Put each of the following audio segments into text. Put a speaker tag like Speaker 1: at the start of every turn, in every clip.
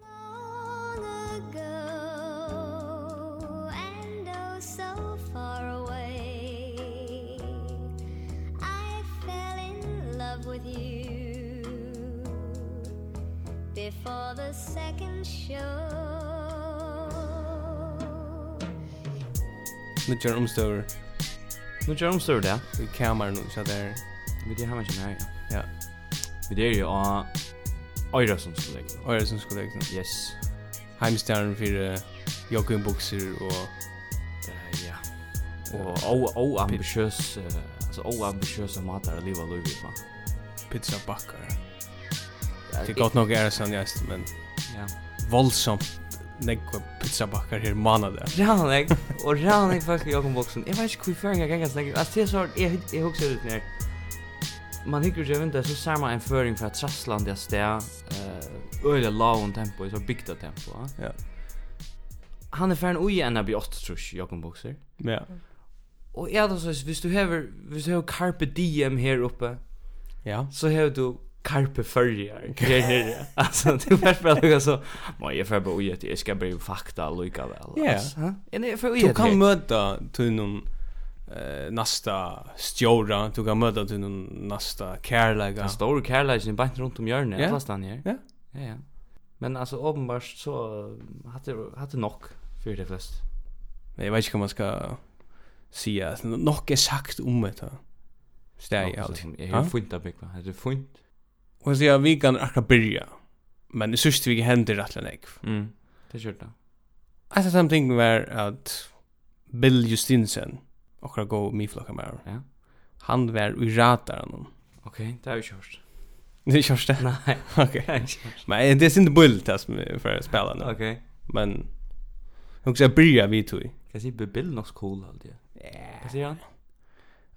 Speaker 1: oh, before the second show
Speaker 2: Nýggjar umstøður
Speaker 3: Nu kör de större där.
Speaker 2: í kamerunum hjá þær.
Speaker 3: Vi det här matchen här.
Speaker 2: Ja.
Speaker 3: Vi det är ju av Øyresunds kollega.
Speaker 2: Øresunds kollegan.
Speaker 3: Yes.
Speaker 2: Heimstjärn fyrir Jokum Buxer og
Speaker 3: Eh, Ja. Och oambitiös, eh, alltså oambitiösa matar att leva livet på.
Speaker 2: Pizza Bakkar. Det er godt nok Øresund jæst, men
Speaker 3: Ja.
Speaker 2: voldsomt nekva Pizza Bakkar her manadag.
Speaker 3: Rannig, og rannig fuck i Jakob Boksen. Jeg vet ikke hvor føringa ganga snakker. Altså, det er sånn, jeg, jeg husker ut nær. Man hikker ikke vinter, så ser man en føring fra Trassland i sted. Uh, Øyla lavun tempo, så bygda tempo. ja.
Speaker 2: Ja.
Speaker 3: Han er ferdig ui enn av i 8 trus, Jakob Bokser.
Speaker 2: Ja.
Speaker 3: Og ja, da så, hvis du hever, hvis du hever Carpe Diem her oppe,
Speaker 2: Ja.
Speaker 3: så hever du Carpe Førjar her nere. Altså, du er bare lukka så, må jeg fer bare ui etter, jeg skal bare fakta lukka vel.
Speaker 2: Ja.
Speaker 3: Yeah. Jeg fer ui
Speaker 2: Du
Speaker 3: etter.
Speaker 2: kan møta tunnum eh nästa stjóra, du kan møta tunnum nästa kærleika.
Speaker 3: Den store kærleiken bænt rundt om hjørnet,
Speaker 2: Ja.
Speaker 3: yeah. plass den her.
Speaker 2: Ja.
Speaker 3: Ja, ja. Men altså, åpenbart så eh, hadde det er nok for det flest.
Speaker 2: Men jeg vet ikke hva man skal si. altså, Nok er sagt om dette. Steg,
Speaker 3: Nok,
Speaker 2: alltid.
Speaker 3: så- Jeg
Speaker 2: Ha?
Speaker 3: har funnet av bygget, det er funnet.
Speaker 2: Og så ja, vi kan akkurat byrja. er Men jeg synes vi hender rett og slett.
Speaker 3: Mm. Det kjørt da.
Speaker 2: Et av samme ting var at Bill Justinsen, akkurat gå og miflokka med
Speaker 3: Ja.
Speaker 2: han var i rataren.
Speaker 3: Ok, det har vi kjørt.
Speaker 2: Det er kjørste.
Speaker 3: Nei,
Speaker 2: Ok.
Speaker 3: det har vi kjørt.
Speaker 2: Men det er ikke bull det som vi får spela nå.
Speaker 3: Ok.
Speaker 2: Men jeg husker jeg byrja vi tog.
Speaker 3: Kan jeg si Bill nok cool alltid?
Speaker 2: Yeah.
Speaker 3: Hva sier han?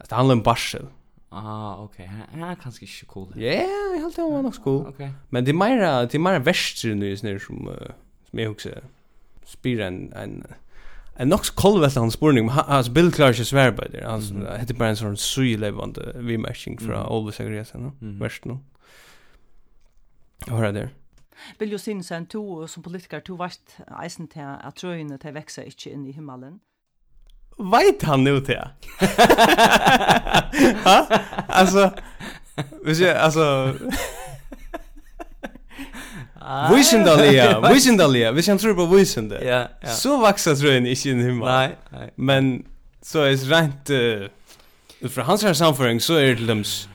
Speaker 2: Det handler om um barsel.
Speaker 3: Ah, ok. Han han er kanskje ikke cool.
Speaker 2: Ja, yeah, jeg halte han var nok sko.
Speaker 3: Ok.
Speaker 2: Men det er meira, det er meira verstre nu i snur som, uh, som jeg husker spyr en, en, en nok kolvete hans spurning, men han- hans bild klarer ikke svær på det. Han
Speaker 3: Mhm.
Speaker 2: heter bare en er sånn sylevande vimersing fra
Speaker 3: Mhm.
Speaker 2: Olve Sagriasen, no?
Speaker 3: Mhm.
Speaker 2: versen nå. Hør er der.
Speaker 4: Bill Josinsen, to som politiker, to vart eisen til at trøyene til veksa ikke inn i himmelen.
Speaker 2: Veit han nu til? ha? Altså, hvis jeg, altså, visendalia, visendalia, hvis han tror på visende,
Speaker 3: Ah. Ja, ja.
Speaker 2: så vaksa trøyen ikke inn i himmelen.
Speaker 3: Nei, nei.
Speaker 2: Men så är det rent uh, ut från hans här samföring så är det till dems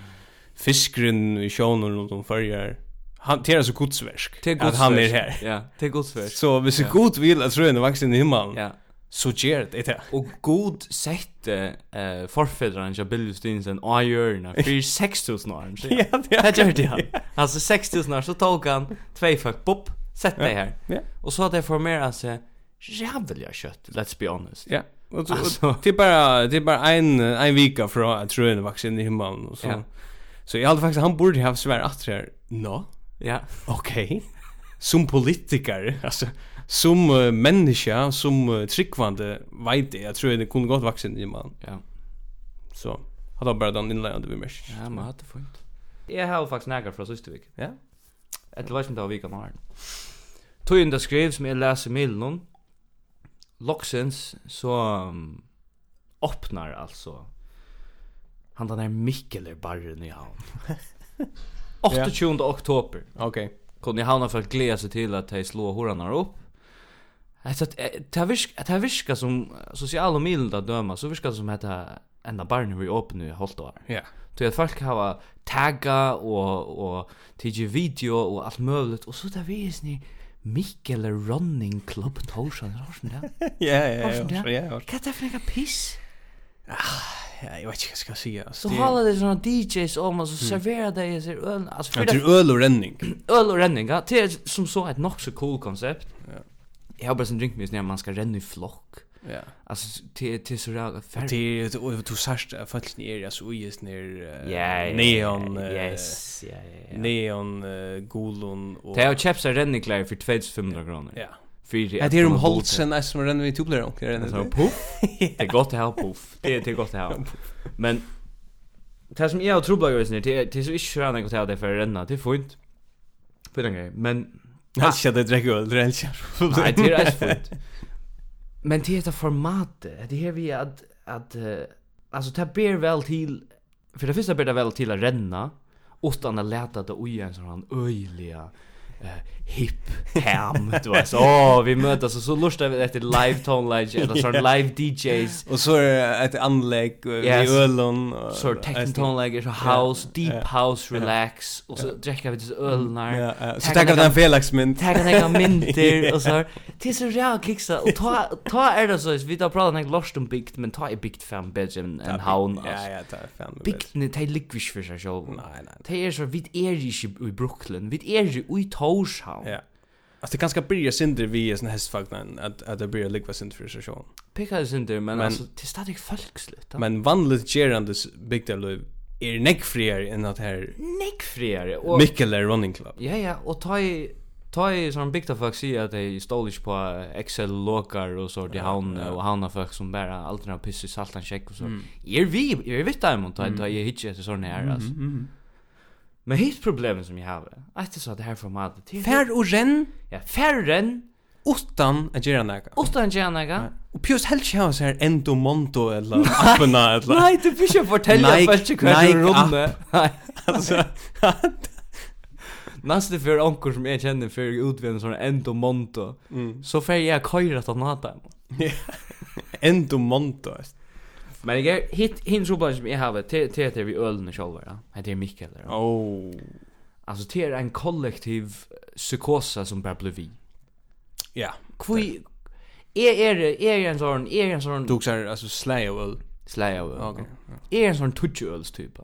Speaker 2: fiskren i sjön och de färger. Han det är så godsverk.
Speaker 3: Det er
Speaker 2: att han är
Speaker 3: godsverk.
Speaker 2: här.
Speaker 3: Ja, det er godsverk.
Speaker 2: Så hvis det
Speaker 3: Ja.
Speaker 2: god vill att tröna växa in er i himmelen.
Speaker 3: Ja.
Speaker 2: Så ger det det.
Speaker 3: Og god sette eh forfedran til Bill Stinsen og Jørgen for 6000 år. sier han.
Speaker 2: er-
Speaker 3: Det er gjør det han. Altså 6000 år så tok han två fuck pop sette det her.
Speaker 2: Ja.
Speaker 3: Og så har det formerat seg jävla kött, let's be honest.
Speaker 2: Ja. Och så
Speaker 3: Alltså.
Speaker 2: och det är bara det er är bara en en vecka från att tröna växa in er i himmelen och så.
Speaker 3: Ja.
Speaker 2: Så jag hade faktiskt han borde ha svär att det här. Nå.
Speaker 3: Ja.
Speaker 2: Okej. Som politiker, alltså som uh, människa, som uh, tryckvande vet jag, jag tror det kunde gått vuxen i man.
Speaker 3: Ja.
Speaker 2: Så har då bara den inlägget vi mest.
Speaker 3: Ja, men hatt det fint. Jeg har faktisk nægget fra siste vik.
Speaker 2: Ja.
Speaker 3: Etter hva som det var vik av morgen. Tøyen det skrev som jeg leser med noen. Loksens så um, åpner altså han den her Mikkeler barren i er havn. 28. oktober
Speaker 2: Okej.
Speaker 3: kunde havna för att glädja sig till att de slår horan upp. Alltså att eh, det här virk- det här virkar som eh, sociala medel att döma så virkar det som att det här enda barnen vi öppnar i Holtovar.
Speaker 2: Ja.
Speaker 3: Du vet folk hava tagga og og tigi video og alt mögligt og så där vi är ni Mikkel Running Club Torsan Torsan ja.
Speaker 2: Ja, ja,
Speaker 3: Varsågod,
Speaker 2: ja.
Speaker 3: ja.
Speaker 2: Ja,
Speaker 3: Kan det fnäcka piss?
Speaker 2: ja, jag vet inte vad jag ska säga.
Speaker 3: Så håller det såna DJs om och så serverar det i sig öl alltså för
Speaker 2: Jag tror öl och ränning.
Speaker 3: öl och renninga er det är som så ett nog så cool koncept. Jag har bara sån drink med när man ska renna i flock.
Speaker 2: Ja.
Speaker 3: Alltså till till så där
Speaker 2: Det är ju du särskilt att fallet ner jag så just ner
Speaker 3: Ja,
Speaker 2: eh, neon eh,
Speaker 3: Yes, ja, ja, ja.
Speaker 2: neon eh, gulon och
Speaker 3: Det er har köpt sig renninglär för 2500 kronor.
Speaker 2: Ja.
Speaker 3: För
Speaker 2: Ja, um det är om Holtsen är som renner vi tublar och renner.
Speaker 3: Det är puff. Det er är gott att ha puff. Det är det er är gott att ha. Men det som jag tror bara just nu det är det är så inte skönt att ha det för renna. Det är fint. För den grejen. Men
Speaker 2: Jag kände dräck öl, det er är helt kär.
Speaker 3: nej, det är inte fint. Men det är det formatet. Det är vi att att eh, alltså det ber väl till för det första ber det väl till att renna utan att leta det oj en sån här öjliga eh, hip ham du vet. Åh, vi mötas och så lustar vi efter live tone live eller sån live DJs.
Speaker 2: Och så är det ett anlägg eh,
Speaker 3: Yes.
Speaker 2: i ölen och
Speaker 3: Så er techno like
Speaker 2: Ja,
Speaker 3: house, deep
Speaker 2: ja,
Speaker 3: house relax och så dricker vi disse ölnar.
Speaker 2: Ja, ja. Så
Speaker 3: Tack,
Speaker 2: tackar
Speaker 3: tack.
Speaker 2: den Felixmynd.
Speaker 3: tagga några mynter och så här. Det är så jävla klicksa och ta ta är det så vi tar prata något lost om bikt men ta är bikt fan bättre än än haun
Speaker 2: Ja,
Speaker 3: alltså.
Speaker 2: ja, det er är fan.
Speaker 3: Bikt ni tar likvis för sig själv.
Speaker 2: Nej, nej.
Speaker 3: Det är er så vid är ju i Brooklyn, vid är ju i Torshavn.
Speaker 2: Ja. Alltså det kanske blir synder vi er är sån hästfagnen att att det blir likvas synd för sig själv.
Speaker 3: Picka det inte men
Speaker 2: Men-
Speaker 3: alltså det er är stadigt folkslut.
Speaker 2: Men vanligt gerande bygdarlöv är näck friare än att här
Speaker 3: neck friare och
Speaker 2: er Mikkel är running club.
Speaker 3: ja ja och ta i ta i sån bikta folk säger att de stolich på Excel lokar och så till haun
Speaker 2: ja. Mm.
Speaker 3: och hauna folk som bara alltid har piss i saltan check och så. Är vi är vi där mot att jag hittar så sån
Speaker 2: Mhm.
Speaker 3: här alltså. Men hitt problemet som jag har, att det så att det här formatet till
Speaker 2: Fär och renn
Speaker 3: er ja, färren
Speaker 2: utan att göra näka.
Speaker 3: utan gärna.
Speaker 2: Och pjus helst jag så här ento monto eller appena eller.
Speaker 3: Nej, du fick ju fortälja
Speaker 2: Nike-
Speaker 3: folk hur du
Speaker 2: Nike app.
Speaker 3: runde. Nej.
Speaker 2: Alltså
Speaker 3: Nästa för onkel som jag känner för utvinner sån endo monto.
Speaker 2: mm.
Speaker 3: Så får jag köra att nata.
Speaker 2: ento monto.
Speaker 3: Men jag är hit hin så bara som jag har er till till att vi ölen och själva. ja. Nej, Det är Mikael där.
Speaker 2: Oh.
Speaker 3: Alltså det är en kollektiv psykosa som bara blir vi. er,
Speaker 2: Ja,
Speaker 3: Kvui är är det är en sån är en
Speaker 2: du
Speaker 3: sån
Speaker 2: också är alltså slay och öl.
Speaker 3: slaja.
Speaker 2: Mm. Okej.
Speaker 3: Är Er en sån tutjöls typ.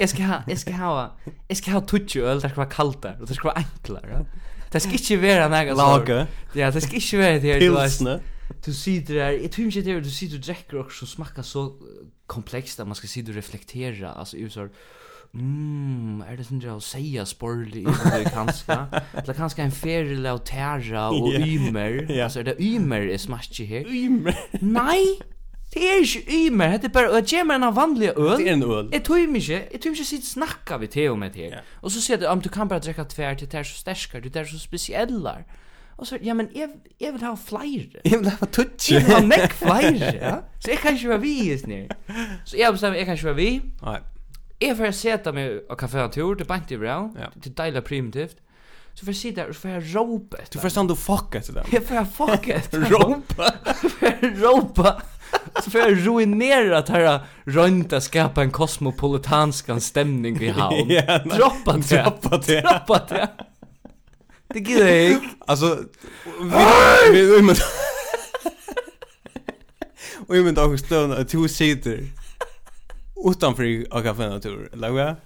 Speaker 3: Jag ska ha jag ska ha jag ska ha tutjöl där ska vara kallt där och det ska vara enklare. ja. Det ska inte vara några
Speaker 2: Lager,
Speaker 3: Ja, det ska inte vara det här. du vet.
Speaker 2: pilsne.
Speaker 3: Du sitter där, jag tror inte det är, du sitter och dricker och så smakar så eh, komplext att man ska sitta och reflektera. Alltså, jag så här, mm, är det sånt jag säga sporlig eller kanske? Eller kanske en färre av tära och
Speaker 2: Ja.
Speaker 3: ymer.
Speaker 2: Ja.
Speaker 3: Alltså, är det ymer är smaskig här?
Speaker 2: Ymer.
Speaker 3: Nej, det är inte ymer. Det är bara, jag ger mig en vanlig öl.
Speaker 2: Det är en öl.
Speaker 3: Jeg tror ikke, jeg tror ikke sitt snakka vi til om det her.
Speaker 2: Ja.
Speaker 3: Og så sier du, om du kan bare drekka tver, det er så sterskar, det er så spesiellar. Og så, ja, men jeg, jeg vil ha flere.
Speaker 2: Jag vill ha touch.
Speaker 3: Jeg vil ha nekk flere, ja. Så jeg kan ikke være vi i snir. Så jeg bestemmer, jeg kan ikke være vi.
Speaker 2: Nej.
Speaker 3: Jeg får seta meg av kaféen tur, det er bare ikke bra,
Speaker 2: Ja.
Speaker 3: det er deilig primitivt. Så får jeg sitte der, og så får jeg råpe
Speaker 2: Du
Speaker 3: etter.
Speaker 2: förstår du fucka till det.
Speaker 3: Jeg får jeg fuck etter.
Speaker 2: Ropa.
Speaker 3: ropa så för jag ruinera att här rönta skapa en kosmopolitansk stämning i havn.
Speaker 2: Ja, nej.
Speaker 3: Droppa det.
Speaker 2: Droppa det.
Speaker 3: Droppa det. Det gick det.
Speaker 2: Alltså vi vi men Och jag menar också stön att du sitter utanför av kaféen och tur. Laga.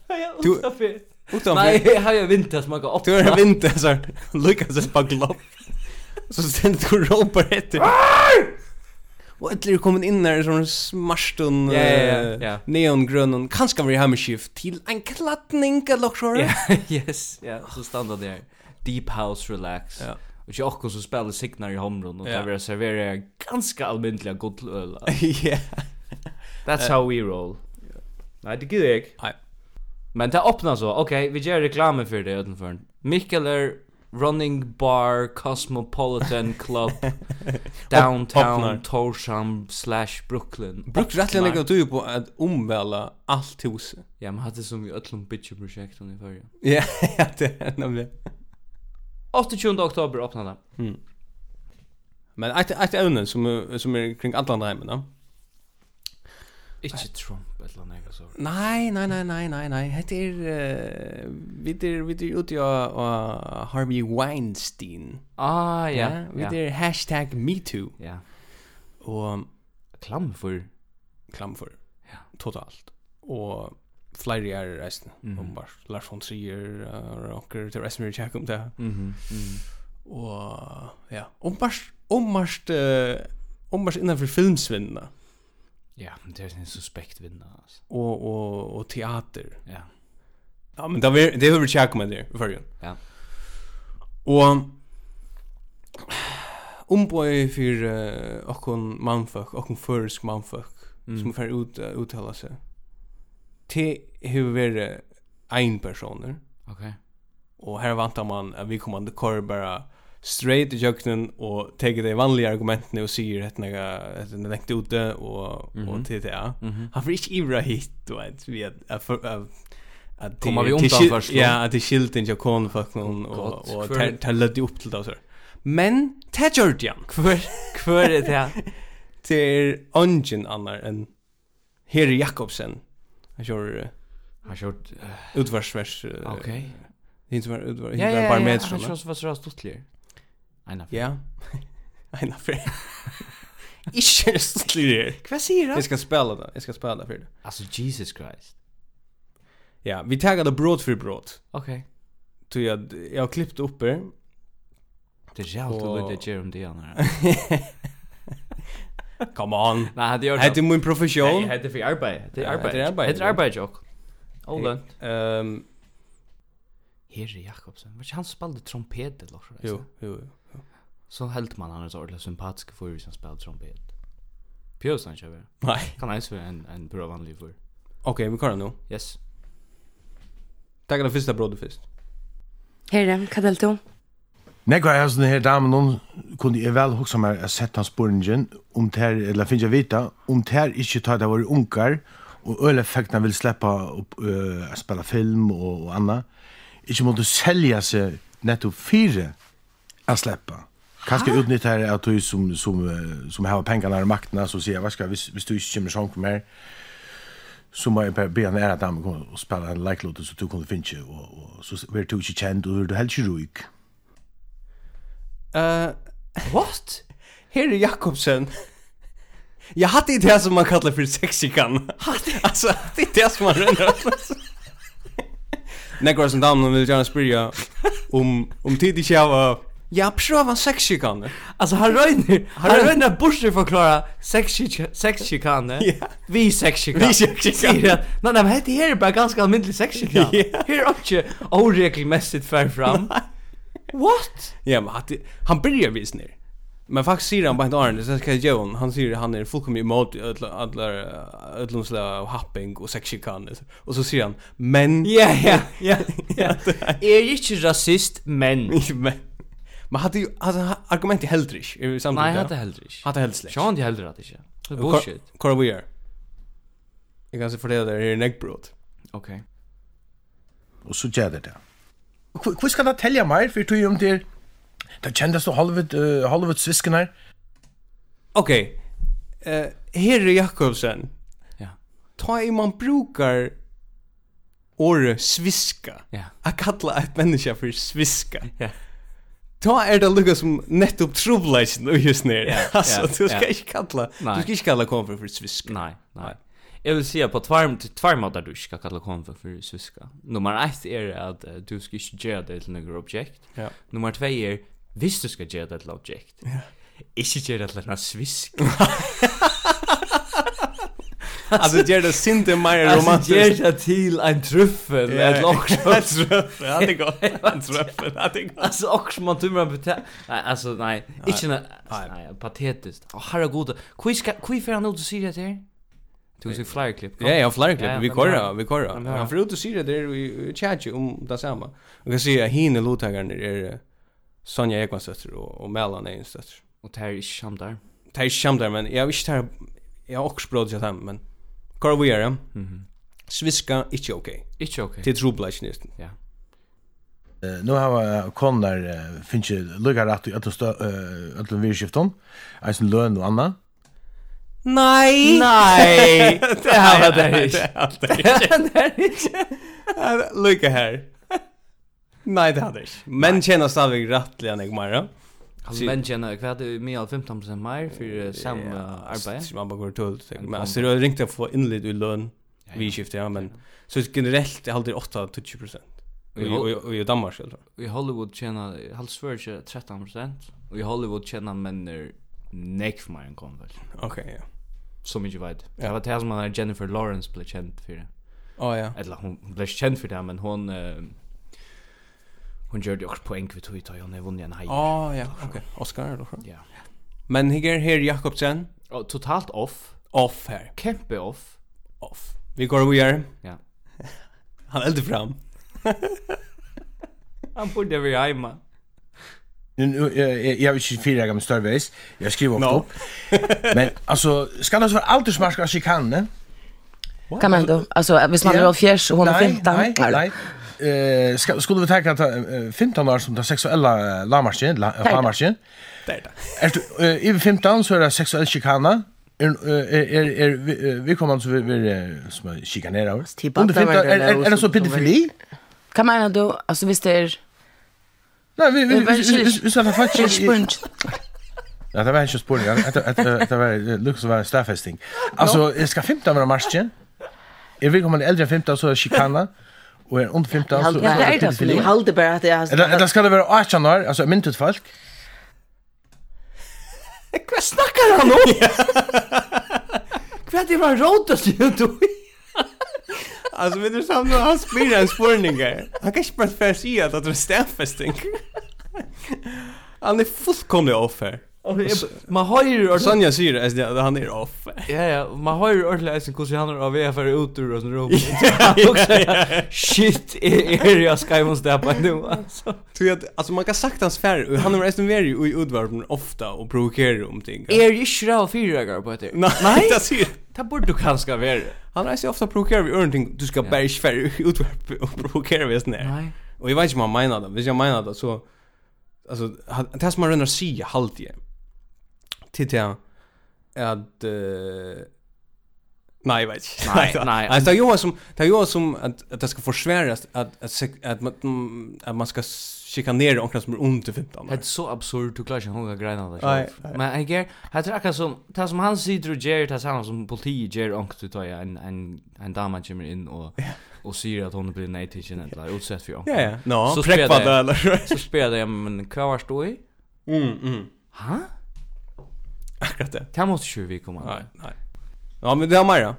Speaker 2: Du-
Speaker 3: Nej,
Speaker 2: Utanför.
Speaker 3: jag har ju vinter smaka upp.
Speaker 2: Du är vinter så här. Lucas är er bara glopp. Så sen du ropar efter. Och äntligen kommer in där som en smarstun
Speaker 3: Ja, ja,
Speaker 2: eh,
Speaker 3: ja, ja.
Speaker 2: neongrön och kanske var det skift till en klattning eller så.
Speaker 3: Ja, yes. Ja, så stannar det här. Deep house relax.
Speaker 2: Ja.
Speaker 3: Och jag också så spelar signar i homron och
Speaker 2: Ja.
Speaker 3: där vill jag servera ganska allmäntliga god öl.
Speaker 2: Ja.
Speaker 3: That's how we roll. Nej, det gick det.
Speaker 2: Nej.
Speaker 3: Men det öppnar så. Okej, vi gör reklam för det utanför. Mikkel är Running Bar Cosmopolitan Club
Speaker 2: öppnar.
Speaker 3: Downtown Torsham slash Brooklyn.
Speaker 2: Brukt rättligen
Speaker 3: Öppnar.
Speaker 2: lägga du på att omväla allt huset.
Speaker 3: Ja, men hade som i öllum bitch projekt i förra.
Speaker 2: Ja, ja, det er är nämligen.
Speaker 3: 28 oktober öppnar det.
Speaker 2: Men ett ett ämne som är- som är er kring Atlantheimen, va?
Speaker 3: Inte Trump eller något så.
Speaker 2: Nej, nej, nej, nej, nej, nej. Det är eh vi det vi det ut jag och Harvey Weinstein.
Speaker 3: Ah, ja.
Speaker 2: Ja, vi
Speaker 3: Ja.
Speaker 2: det hashtag #metoo um,
Speaker 3: Ja.
Speaker 2: och
Speaker 3: Klam för.
Speaker 2: klam för.
Speaker 3: Ja.
Speaker 2: Totalt. Och flyger är resten.
Speaker 3: Mhm.
Speaker 2: Mm. Bara Lars von Trier eh, och åker till resten vi checkar om det.
Speaker 3: Mhm.
Speaker 2: Mm. Och ja, om bara om bara om bara innanför filmsvinna
Speaker 3: Ja, men det är en suspekt vinnare alltså.
Speaker 2: och och och teater.
Speaker 3: Ja.
Speaker 2: Ja, men det var det hur check med det för ju.
Speaker 3: Ja.
Speaker 2: Och omboy för uh, okon manfolk, okon försk manfolk
Speaker 3: Mm. Mhm.
Speaker 2: som får ut uh, uttala sig. Te hur vi en personer
Speaker 3: Okej.
Speaker 2: och här väntar man att vi kommer att kör bara straight i jöknen och tar de vanliga argumenten och säger att några att den är ute och och
Speaker 3: Mhm.
Speaker 2: till det.
Speaker 3: Mhm.
Speaker 2: Han får inte ivra hit och att vi att At
Speaker 3: Kommer
Speaker 2: det-
Speaker 3: vi
Speaker 2: det
Speaker 3: undan Oh,
Speaker 2: skil-
Speaker 3: först då?
Speaker 2: Ja, att det skilte inte jag kon fuck någon
Speaker 3: Gott,
Speaker 2: och och
Speaker 3: för-
Speaker 2: tar- tar lödde upp till det och så. Men det gjorde jag.
Speaker 3: Kvör kvör är det.
Speaker 2: Det är ungen annar än Herre Jakobsen. Han kör eh,
Speaker 3: Han kört
Speaker 2: utvarsvers. eh,
Speaker 3: okej.
Speaker 2: Inte var utvar.
Speaker 3: Ah, Ja ja
Speaker 2: Inte bara
Speaker 3: ja,
Speaker 2: med
Speaker 3: han kör så vad så rast tutler. Ena.
Speaker 2: Ja. Ein affär. Ikke så det.
Speaker 3: Vad säger
Speaker 2: Jag ska spela det. Jag ska spela det för det.
Speaker 3: Alltså Jesus Christ.
Speaker 2: Ja, vi taggar det brot för brot.
Speaker 3: Okej.
Speaker 2: Så jag jag har klippt upp det.
Speaker 3: Det er är jävligt
Speaker 2: Och-
Speaker 3: vad det gör om det här.
Speaker 2: Come on.
Speaker 3: Nej, hade jag
Speaker 2: Hade min profession.
Speaker 3: hade för arbete. Det är
Speaker 2: Ja,
Speaker 3: arbete.
Speaker 2: det er är arbete.
Speaker 3: Det er är arbete jag. Ola.
Speaker 2: Ehm,
Speaker 3: Herre Jakobsen. Men han spelade trompet eller så.
Speaker 2: jo, jo. jo.
Speaker 3: Så helt man han är så ordentligt sympatisk för som spelar trompet. Pjörs han kör.
Speaker 2: Nej.
Speaker 3: Kan han ens vara en en bra vanlig för.
Speaker 2: Okej, vi kan nu.
Speaker 3: Yes.
Speaker 2: Taggar det första brodet först.
Speaker 5: Herre, hva delte du?
Speaker 6: Nekvar hans den her damen hon kunne jeg vel hoksa meg å sette hans spåringen om ter, eller finnes jeg vita, om ter ikke tar det våre unger, og øle fekna vil sleppa opp, øh, å spille film og, og anna, ikke måtte selja seg nettopp fire å sleppa. Kanskje utnytta her at du som, som, øh, som har pengene og maktene, så sier jeg, hva skal, hvis, hvis du ikke kommer sånn mer, så må jeg bare be han ære at han kommer og spille en leiklåte så du kunne finne, og, og så blir du ikke kjent, og du er helt ikke ruik.
Speaker 2: Eh,
Speaker 3: What?
Speaker 2: Herre er Jakobsen. Jag hade inte det som man kallar för sexikan. Alltså, det är det som man rör. Nekvar som damen vill gärna spyrja om, om tid i tjava. Ja, pröva sexikan.
Speaker 3: Alltså han röjner, han
Speaker 2: röjner-
Speaker 3: röjner Bush förklara sex chik- sex chikane.
Speaker 2: Ja.
Speaker 3: Vi er sex chikane.
Speaker 2: Vi sex chikane.
Speaker 3: Nej nej, men det
Speaker 2: er
Speaker 3: här är bara ganska allmänt sex chikane.
Speaker 2: Ja.
Speaker 3: Här är också oregelmässigt fär fram. What?
Speaker 2: Ja, men hade, han börjar vis ner. Men faktiskt säger han bara inte Arne, sen ska jag göra hon. Han säger han är fullkomligt emot ödlomsla och happing och sexikan. Och så säger han, men...
Speaker 3: Ja ja ja. ja. Är inte rasist men.
Speaker 2: men... Men hade ju, alltså argumentet heldrish, är vi samtidigt?
Speaker 3: Nej,
Speaker 2: ja?
Speaker 3: hade heller inte.
Speaker 2: Hade heldrish.
Speaker 3: Sean det heller att inte. Det är bullshit.
Speaker 2: Kora vi är. Jag kan se för det där är neckbrot.
Speaker 3: Okej.
Speaker 6: og så gjør det det. Hvor hvor skal det telle meg, for tog om det Det kjendes jo halvet, uh, halvet svisken her.
Speaker 2: Okej. Eh Herre Jakobsen.
Speaker 3: Ja.
Speaker 2: Ta i man brukar or sviska.
Speaker 3: Ja.
Speaker 2: Jag kallar ett människa för sviska. er
Speaker 3: Ja.
Speaker 2: Ta är det lukka som nettopp trubbelsen och just ner.
Speaker 3: Ja, ja,
Speaker 2: alltså du ska
Speaker 3: ja.
Speaker 2: inte kalla.
Speaker 3: Nej.
Speaker 2: Du ska inte kalla konfer för sviska.
Speaker 3: Nej, nej. Jag vill säga på tvärm till tvärm att du ska kalla kon för för sviska. Nummer 1 är att eh, du ska inte göra det till några objekt.
Speaker 2: Ja.
Speaker 3: Nummer 2 är visst du ska göra det till objekt. Ja. Inte göra det till en svisk.
Speaker 2: Alltså det är det synte mer
Speaker 3: Alltså
Speaker 2: um romantiskt.
Speaker 3: gör det till en truffel
Speaker 2: Ja.
Speaker 3: eller också.
Speaker 2: Truffel, ja, det går. Truffel, ja, det går.
Speaker 3: Alltså också man tumrar på det. Nej, alltså nej, inte nej,
Speaker 2: Nej.
Speaker 3: nej patetiskt. Åh herregud. Hur ska hur får han ut och säga det här? Du ska flyer clip.
Speaker 2: Eh. Ja, ja, flera
Speaker 3: Ja,
Speaker 2: klipp. Vi
Speaker 3: men
Speaker 2: korra,
Speaker 3: bra.
Speaker 2: vi korra.
Speaker 3: Men bra.
Speaker 2: Han får ut och säger det där i chat om det samma. Jag kan säga att henne låtagaren är eh, Sonja Ekmans dotter och, och Mellan är en dotter.
Speaker 3: Och det er här är inte där.
Speaker 2: Det är inte samt där, men jag visste här, jag har också bråd till dem, men korra vi är det. Sviska, inte okej.
Speaker 3: Inte okej.
Speaker 2: Det är troblasjnisten.
Speaker 3: Ja.
Speaker 6: Uh, nå har uh, konar uh, finnes ikke lukkar rett i ødelen stø- eh, ødelen virkskiften, eisen løn og anna.
Speaker 2: Nej!
Speaker 3: Nej, det här
Speaker 2: er
Speaker 3: var det inte.
Speaker 2: Det hade jag inte. Er Lycka här. Nej, det er hade jag inte. Men känner stadig rättligen, Egmara.
Speaker 3: Alltså men Jenna, jag hade med er all 15% mer
Speaker 2: eh,
Speaker 3: för samma arbete.
Speaker 2: Så man bara går tull
Speaker 3: En
Speaker 2: men alltså det är ringt att få inled i lön vi skiftar ja men så er det generellt är alltid 8 till 20
Speaker 3: Och i
Speaker 2: och i- och i Danmark själv.
Speaker 3: I Hollywood tjäna halvsvärge 13% och i Hollywood tjäna männer neck för mig en konvel.
Speaker 2: Okej ja.
Speaker 3: Så mycket vet. Det
Speaker 2: Ja.
Speaker 3: var det här som man är er Jennifer Lawrence blev känd för det.
Speaker 2: Ja ja.
Speaker 3: Eller hon hon blev känd för det men hon eh, hon gjorde också poäng för tog och hon har vunnit en haj.
Speaker 2: Ah, Ja ja. Okej. Oscar då.
Speaker 3: Ja.
Speaker 2: Men er här här Jakobsen
Speaker 3: Och totalt off.
Speaker 2: off här.
Speaker 3: Kempe off.
Speaker 2: Off. Vi går vi är.
Speaker 3: Ja.
Speaker 2: Han eldar fram.
Speaker 3: Han borde vara hemma.
Speaker 6: Nu, eh, jeg, jeg vil ikke fire gammel størveis, jeg skriver ofte
Speaker 2: Nå.
Speaker 6: opp. Men altså, skal det være aldersmarsk av sjikane?
Speaker 5: Kan man då? Alltså, visst man er
Speaker 6: Ja.
Speaker 5: är av fjärs och hon är 15.
Speaker 6: Nej, nej, nej. Eh, ska, skulle vi tänka att eh, 15 år som det sexuella eh, lamarschen, la,
Speaker 5: det.
Speaker 6: lamarschen.
Speaker 2: Det er det.
Speaker 6: Är du eh, över 15 så är det sexuell chikana. Är eh, är är vi- eh, vi kommer alltså vi vi eh, som är chikanera.
Speaker 7: typ
Speaker 6: Under
Speaker 7: att det
Speaker 6: 15 är
Speaker 7: var det där
Speaker 6: är- är det
Speaker 7: och
Speaker 6: så
Speaker 7: så-
Speaker 6: er pedofili?
Speaker 5: Kan man då? Alltså, visst är det... er-
Speaker 6: Nej, vi vi
Speaker 5: Det var
Speaker 6: vi- vi vi- vi sa det
Speaker 5: Det är
Speaker 6: faktiskt.
Speaker 5: spunch.
Speaker 6: Ja, det var inte spårning. Det det var Lucas var staffesting. Alltså, jag ska 15 vara marschen. Är vi kommer äldre än 15 så är det chikana och är under 15 så
Speaker 7: Jag
Speaker 6: så
Speaker 7: halte-
Speaker 5: Ja, det
Speaker 6: är
Speaker 5: er
Speaker 6: det
Speaker 5: det.
Speaker 7: Jag
Speaker 6: pedofili.
Speaker 7: halte bara att jag
Speaker 6: Eller eller ska det vara 18 år, alltså myntet folk?
Speaker 3: Hva snakker han om? Hva er det man råd oss jo du?
Speaker 2: Alltså men det är samma han spyr en spårning här. Han kan inte bara för sig att det är stäffesting. Han är fullkomlig offer.
Speaker 3: Man høyrer ordentlig...
Speaker 2: Sonja säger att det- han er är offer.
Speaker 3: Ja, ja, man høyrer ordentlig eisen hvordan han er av VFR ut ur og sånn rom. Og så er jeg, Shit, er er jeg skyvånsteppa nå, altså.
Speaker 2: Tror jag att alltså man kan sagt hans färg han är resten mer i utvarpen ofta och provokerar om ting.
Speaker 3: Er jeg ikke ræv fyrirøkker på etter?
Speaker 2: Nej, det säger
Speaker 3: Det burde du kanskje være.
Speaker 2: han är så ofta provokerar vi någonting du ska
Speaker 3: Ja.
Speaker 2: bara inte färg utvarpen och provokera vi sån här.
Speaker 3: Nei.
Speaker 2: Och jag vet inte om han menar det. Hvis jag menar det så alltså han- det här som man rönnar sig halt igen. Titta jag att eh Nej, jag vet inte.
Speaker 3: Nej, nej.
Speaker 2: Alltså, det är Johan som, det är Johan som att, att det ska försväras att, att, sek- att, man, mm, att man ska chikanera omkring som är ont i 15
Speaker 3: Det är så er absurd du klarar inte hunga greina där.
Speaker 2: Nej,
Speaker 3: Nej,
Speaker 2: nej.
Speaker 3: Men jag ger, jag tror er akkurat som, det som han sitter och ger, det samma som politiet ger ångt du tar en, en, en dama kommer in och, och säger att hon er blir nej till sin eller utsatt för ångt.
Speaker 2: Ja, ja. Nå,
Speaker 3: Så
Speaker 2: präkva
Speaker 3: spelar
Speaker 2: det
Speaker 3: jag-
Speaker 2: eller?
Speaker 3: Så spelar jag, men vad var stå i?
Speaker 2: Mm, mm.
Speaker 3: Ha?
Speaker 2: Akkurat det.
Speaker 3: Det måste ju vi komma.
Speaker 2: Nej, nej. Ja, men det har Maira.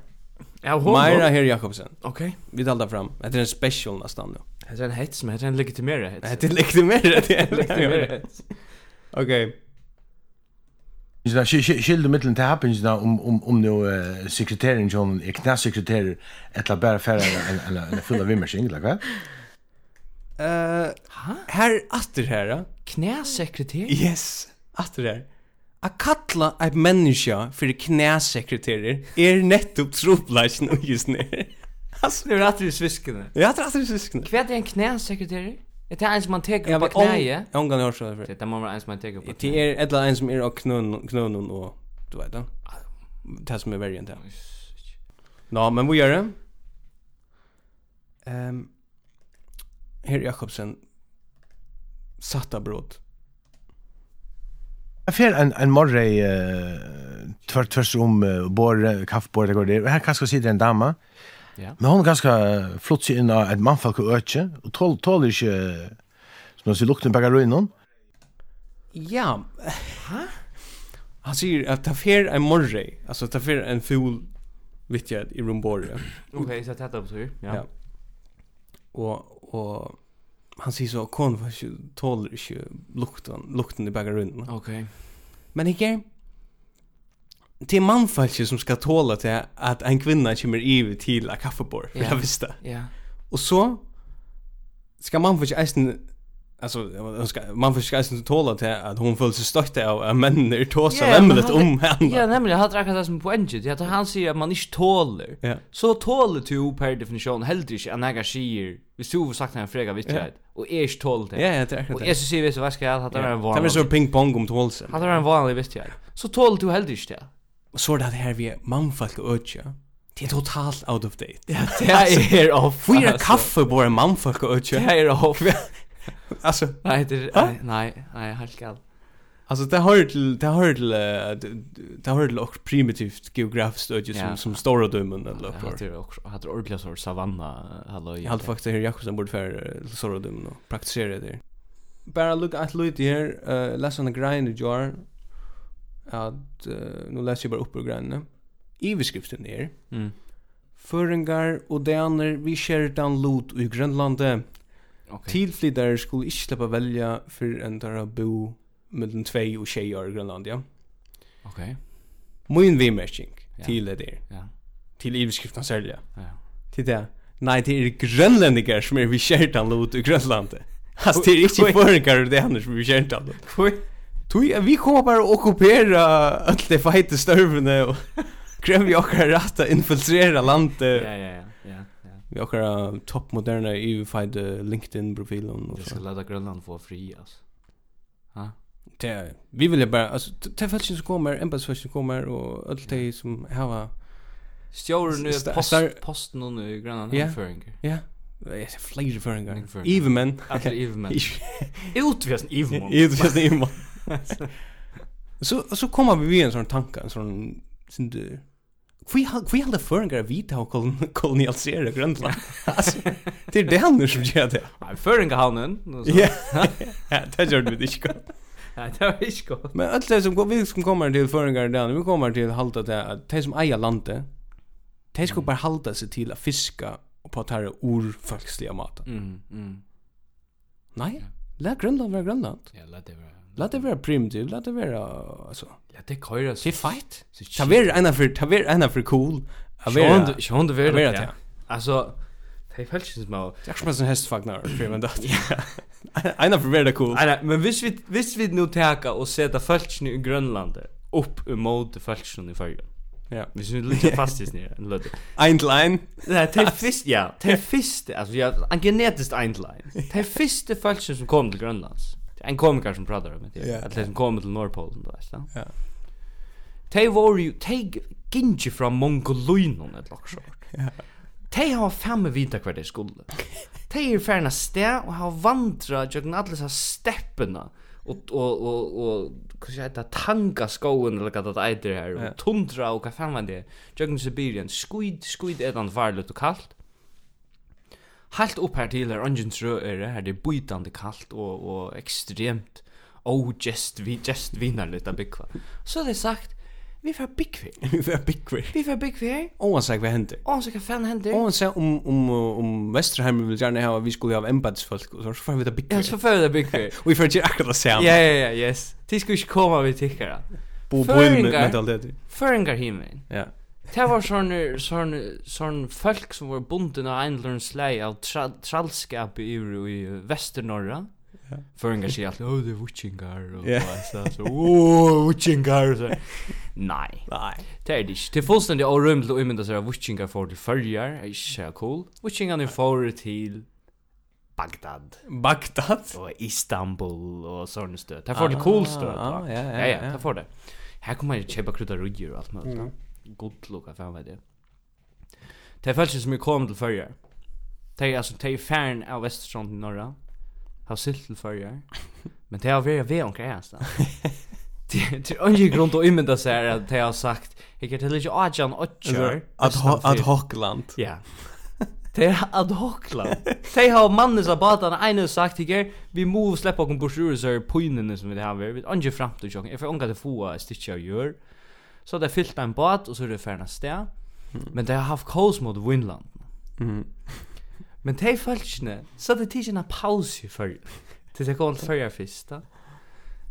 Speaker 3: Ja, hon.
Speaker 2: Maira Herr Jakobsen.
Speaker 3: Okej.
Speaker 2: Vi talar fram. Det är en special nästan nu.
Speaker 3: Det är en er hets, men det är en legitimera hets.
Speaker 2: Det är lite mer det. är
Speaker 3: legitimera
Speaker 2: lite mer.
Speaker 3: hets.
Speaker 2: Okej.
Speaker 6: Så skilde mittlen till happens um, där om om om nu eh, sekreteraren John är knasekreterare eller bara färra en en en fulla vimmersing eller vad?
Speaker 2: Eh, här atter här. ja.
Speaker 3: Knäsekreterare?
Speaker 2: Yes, atter här. Att kalla ett människa för knäsekreterare är er nettopp troplasjen och just nu. Alltså,
Speaker 3: Nu är det att du sviskade.
Speaker 2: jag har trattat syskon.
Speaker 3: Vad är en knäsekreterare? Är det en som man teker
Speaker 2: Jag
Speaker 3: på
Speaker 2: vet om...
Speaker 3: knäje?
Speaker 2: Jag har inte hört så här.
Speaker 3: Det må vara en som man teker på knäje.
Speaker 2: Det är er, ett eller en som är och knön knön och du vet det. Det som är värre än det. Nå, men vad gör det? Ehm Herr Jakobsen satta brott.
Speaker 6: Jag fer en en morre i tvärt tvärs om bor kaffebord det går det. er. Här kanske sitter en damma.
Speaker 3: Ja.
Speaker 6: Men hon är ganska flott sig in av ett manfolk och öke och tål tål inte eh, som man ser lukten på ruinen.
Speaker 2: Ja. Ha? Han säger att ta fer en morre, alltså ta fer en ful vittjad i rumborre.
Speaker 3: Okej, så jag tattar på tur.
Speaker 2: Ja. Och och han säger så kon för tål inte lukten lukten i bagarunden.
Speaker 3: Okej.
Speaker 2: Men ikke Det er mannfalket som skal tåle til at en kvinna kommer ivi til a kaffebord, for
Speaker 3: Ja.
Speaker 2: jeg visste.
Speaker 3: Ja.
Speaker 2: Og så skal mannfalket eisen, altså, hun skal- mannfalket skal eisen tåle til at hun føler seg støtte av at mennene er tåsa
Speaker 3: Ja,
Speaker 2: yeah,
Speaker 3: men
Speaker 2: vemmelig
Speaker 3: han-
Speaker 2: om henne.
Speaker 3: Ja, nämligen hade räknat det som poänget. Jag tror han säger att man inte tåler.
Speaker 2: Ja.
Speaker 3: Så tåler du per definition helt inte en ägare säger. Hvis du har sagt en fråga vet jag. Och är inte tål det.
Speaker 2: Ja, ja, det er akkurat
Speaker 3: Och
Speaker 2: det.
Speaker 3: jag så säger vi så vad ska jag ha det en
Speaker 2: Det er så
Speaker 3: vanlig.
Speaker 2: ping-pong om tålse.
Speaker 3: Hade det en vanlig vet jag. Så tåler du helt inte det.
Speaker 2: Og så er det her vi er mannfalket øtja. Det er totalt out of date. Ja,
Speaker 3: Det är off.
Speaker 2: Fyra kaffebord er mannfalket øtja.
Speaker 3: Det er- är off.
Speaker 2: Altså,
Speaker 3: Nej, det er- nej, nej, nej, helt galt.
Speaker 2: Alltså det hör till det hör till eh, det- det hör till och primitivt geografiskt öde som
Speaker 3: Ja.
Speaker 2: som stora dömen eller
Speaker 3: Jag
Speaker 2: något.
Speaker 3: hade också hade ordentligt så savanna hallå.
Speaker 2: Jag hade faktiskt här Jakobsen borde för eh, stora dömen och praktisera det. Bara look at Lloyd här, eh läs on the grind i jar. Att eh, nu läser jag bara upp ur grinden. I beskriften är
Speaker 3: Mm.
Speaker 2: Føringar og daner vi skjerdan lot i Grønlandet.
Speaker 3: Okej.
Speaker 2: Tilflytare skulle ikke slippe velja for en der bo mellom 2 og 6 år i Grønland, ja.
Speaker 3: Okej.
Speaker 2: Min vimerking
Speaker 3: Ja.
Speaker 2: til det der.
Speaker 3: Ja.
Speaker 2: Til iveskriften særlig.
Speaker 3: Ja.
Speaker 2: Til det. Nei, det er grønlendinger som er vi kjertan lot i Grønlandet. Altså, det er ikke føringar og det andre som er vi kjertan lot. Tui, vi kommer bare å okkupera alle de feite størvene og krevja okkar rætt att infiltrera landet.
Speaker 3: Ja, ja, ja, ja, ja.
Speaker 2: Vi okkar toppmoderna EU-fide LinkedIn-profilen och
Speaker 3: Jag
Speaker 2: så.
Speaker 3: ska låta Grönland få fri, alltså. Ha?
Speaker 2: Det er- vi vill bara alltså det fälls som kommer, embassfälls som kommer och allt det som hava
Speaker 3: Stjórn
Speaker 2: Sta-
Speaker 3: nu post,
Speaker 2: star-
Speaker 3: posten hon i Grönland
Speaker 2: Ja.
Speaker 3: yeah. anføringer.
Speaker 2: ja, det är fler förringar.
Speaker 3: Fleiri føringar.
Speaker 2: Even men.
Speaker 3: Alla Ivermen. Utvesen Ivermen.
Speaker 2: Even just even man. Så så kommer vi vid en sån tanke, en sån sin du Vi har vi har förringar vita och kolon- kolonialisera Grönland. Alltså det är det han som gör det.
Speaker 3: Nei, Føringahavnen.
Speaker 2: Ja. Ja, det gör vi det inte.
Speaker 3: Nei, det var ikke godt.
Speaker 2: Men allt det som går- vi som kommer till föringar där, vi kommer till halta det att de som äger landet, de ska bara halta sig till att fiska och på att ta det ur folksliga maten.
Speaker 3: Mm, mm.
Speaker 2: Nej, lät Grönland vara Grönland.
Speaker 3: Ja, la det være.
Speaker 2: Lät det vara primitivt, lät det vara alltså.
Speaker 3: La det køyre.
Speaker 2: Det är fight.
Speaker 3: Så
Speaker 2: Ta ver ena för ta ver ena för cool. Ta
Speaker 3: Sjån,
Speaker 2: ver.
Speaker 3: sjån det
Speaker 2: Vera,
Speaker 3: vera.
Speaker 2: ja.
Speaker 3: Ja. Altså, det er faktisk som av...
Speaker 2: Jag smäller en hästfagnar för men det. Ena för vera cool.
Speaker 3: Nei, nei, men hvis vi, hvis vi nu teka og seta falskene i Grønlandet opp imot falskene i Førgen.
Speaker 2: Ja.
Speaker 3: Hvis vi lytter fast i snir, en lødde.
Speaker 2: Ein till ein.
Speaker 3: Nei, det er fyrst, ja, det er fyrst, altså, ja, en genetisk eindlein. Det er fyrste falskene som kom til Grønlands. Det er en komiker som pratar om det,
Speaker 2: Ja.
Speaker 3: at det er som kom til Nordpolen, du veist, da.
Speaker 2: Ja.
Speaker 3: De var jo, de gynge fra Mongoloinon, et lakk sort. De har fem vita hver de skulle. De er ferna sted og har vandra tjøkken alle disse steppene og, og, og, og hva skal jeg heta, tanga skoen eller hva det eiter her, og
Speaker 2: Ja.
Speaker 3: tundra og hva faen var det, tjøkken Sibirien, skuid, skuid etan varligt er og kaldt. Halt opp her til her, ungen trø er det, her det er bytande kaldt og, og ekstremt, oh, just, vi, just vinar litt av byggva. Så er det sagt, vi får byggvi,
Speaker 2: Vi var big queer.
Speaker 3: vi får byggvi her,
Speaker 2: Och vad vad händer?
Speaker 3: og så hva faen hender,
Speaker 2: Och så om om om Västerheim vill gärna ha vi skulle ha embedsfolk och så får vi ta big queer.
Speaker 3: Ja, så förra byggvi.
Speaker 2: Vi får inte akkurat samma.
Speaker 3: Ja, ja, ja, yes. Ti skulle ikke komme vi tikkara.
Speaker 2: Bo bo med
Speaker 3: Føringar.
Speaker 2: mentalitet.
Speaker 3: Føringar himmelen.
Speaker 2: Ja.
Speaker 3: Det var sånne, sånne, sånne folk som var bunden av en eller annen slei av tra trallskap i, Ur- i Vesternorra.
Speaker 2: Ja.
Speaker 3: Føringar sier alltid, åh, det er witchingar, og
Speaker 2: Ja.
Speaker 3: så, så, åh, witchingar, og så. Nei,
Speaker 2: Nej.
Speaker 3: det er det ikke. Det er fullstendig årømmelig å umynda seg at witchingar får til følger, er ikke så cool. Witchingar får til Bagdad
Speaker 2: Bagdad.
Speaker 3: og Istanbul og sånne stød. Det får til cool stød. da.
Speaker 2: Ah, ja, ja,
Speaker 3: Ja, ja,
Speaker 2: ja.
Speaker 3: det får det. Här kommer jag köpa krydda rugger och allt möjligt. Mm. God lucka fan vad det. Det är faktiskt som jag kom till förra. Det är alltså det är färn av Västerstrand i norra. Har silt till förra. Men det har varit vi omkring här stan. Det det är ingen grund att imita sig här att det har sagt. Jag kan till inte Adjan Otcher.
Speaker 2: Ad hoc ad hoc land.
Speaker 3: Ja. Det är ad hoc land. Det har mannen som badarna ene sagt igår, vi må släppa oss på sjur så är pojnen som vi har vi vet inte fram till jag. Jag får ånga till få ett stycke av gör. Så det fyllt en båt och så är det färna stä. Men det har haft kaos mot Vinland.
Speaker 2: Mhm.
Speaker 3: Men det är falskne. Så det är en paus i för. Tills jag kom till förra första.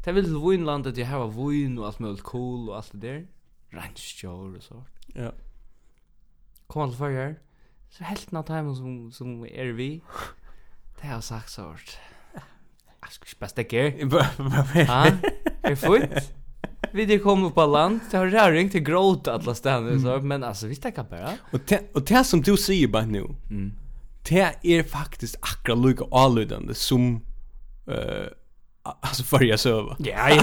Speaker 3: Det vill till Vinland att jag har vin och allt möjligt cool och allt det där. Ranchkjör och så.
Speaker 2: Ja.
Speaker 3: Kom til fyrir Så helten av timen som, som er vi Det har sagt så hårt Jeg skal ikke best ikke
Speaker 2: Jeg bare- bare-
Speaker 3: Ha? Er fullt? Vi er kommet på land Det har røring til gråt alle stedene så,
Speaker 2: Mm.
Speaker 3: Men altså, vi stekker bare
Speaker 2: Og te- Og det som du sier bare nå,
Speaker 3: Mm.
Speaker 2: det er faktisk akkurat lukka avlydende som uh, altså før jeg søver.
Speaker 3: Ja, ja,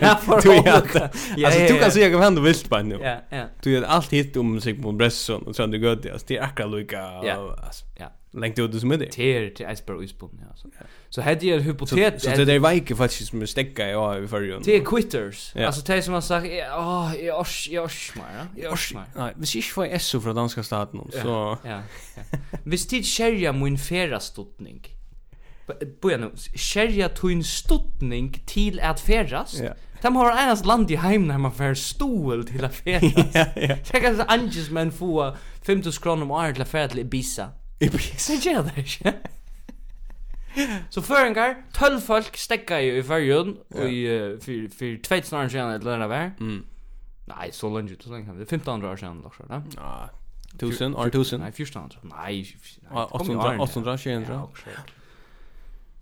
Speaker 3: ja, for
Speaker 2: du, ja,
Speaker 3: hållet. Ja,
Speaker 2: Altså,
Speaker 3: ja,
Speaker 2: du
Speaker 3: ja.
Speaker 2: kan si hva hender vilt bare nå.
Speaker 3: Ja, ja
Speaker 2: Du vet allt hit om Sigmund Bresson och Sander Gödde, alltså det är akkurat lika
Speaker 3: Ja.
Speaker 2: alltså
Speaker 3: Ja.
Speaker 2: längt ut som är det.
Speaker 3: Ter til Eisberg og Isbund ja, så. så hette jeg en
Speaker 2: Så,
Speaker 3: hypotet
Speaker 2: så det där vike faktiskt som stäcka jag i förrjun.
Speaker 3: Det er quitters
Speaker 2: Ja.
Speaker 3: Altså, det er som har sagt jeg- Åh, jeg ors, jeg ors meg ja. Jeg ors meg
Speaker 2: Nej, vi ser ju för SO från danska staten om, så
Speaker 3: Ja, ja. Hvis tid skjerja mun ferastutning, boja nu, skjerja tuin stutning til at ferast,
Speaker 2: Ja.
Speaker 3: de har einast land i heimna her man fer stuel til at ferast.
Speaker 2: ja ja.
Speaker 3: Tenk at anges menn få 50 kroner om året um til at ferast til Ibiza.
Speaker 2: I pris.
Speaker 3: Så gjør det ikke. Så føringar, tølv folk stekka jo i fyrjun, og i, eh, fyr, fyr tveit snarere siden et lønne vær.
Speaker 2: Mm.
Speaker 3: Nei, så lenge, så lenge, det er 15 år siden, lakser, da.
Speaker 2: Ja. 1000 or 1000.
Speaker 3: Nei, 1400. Nei,
Speaker 2: Ja, 800, 800, 700.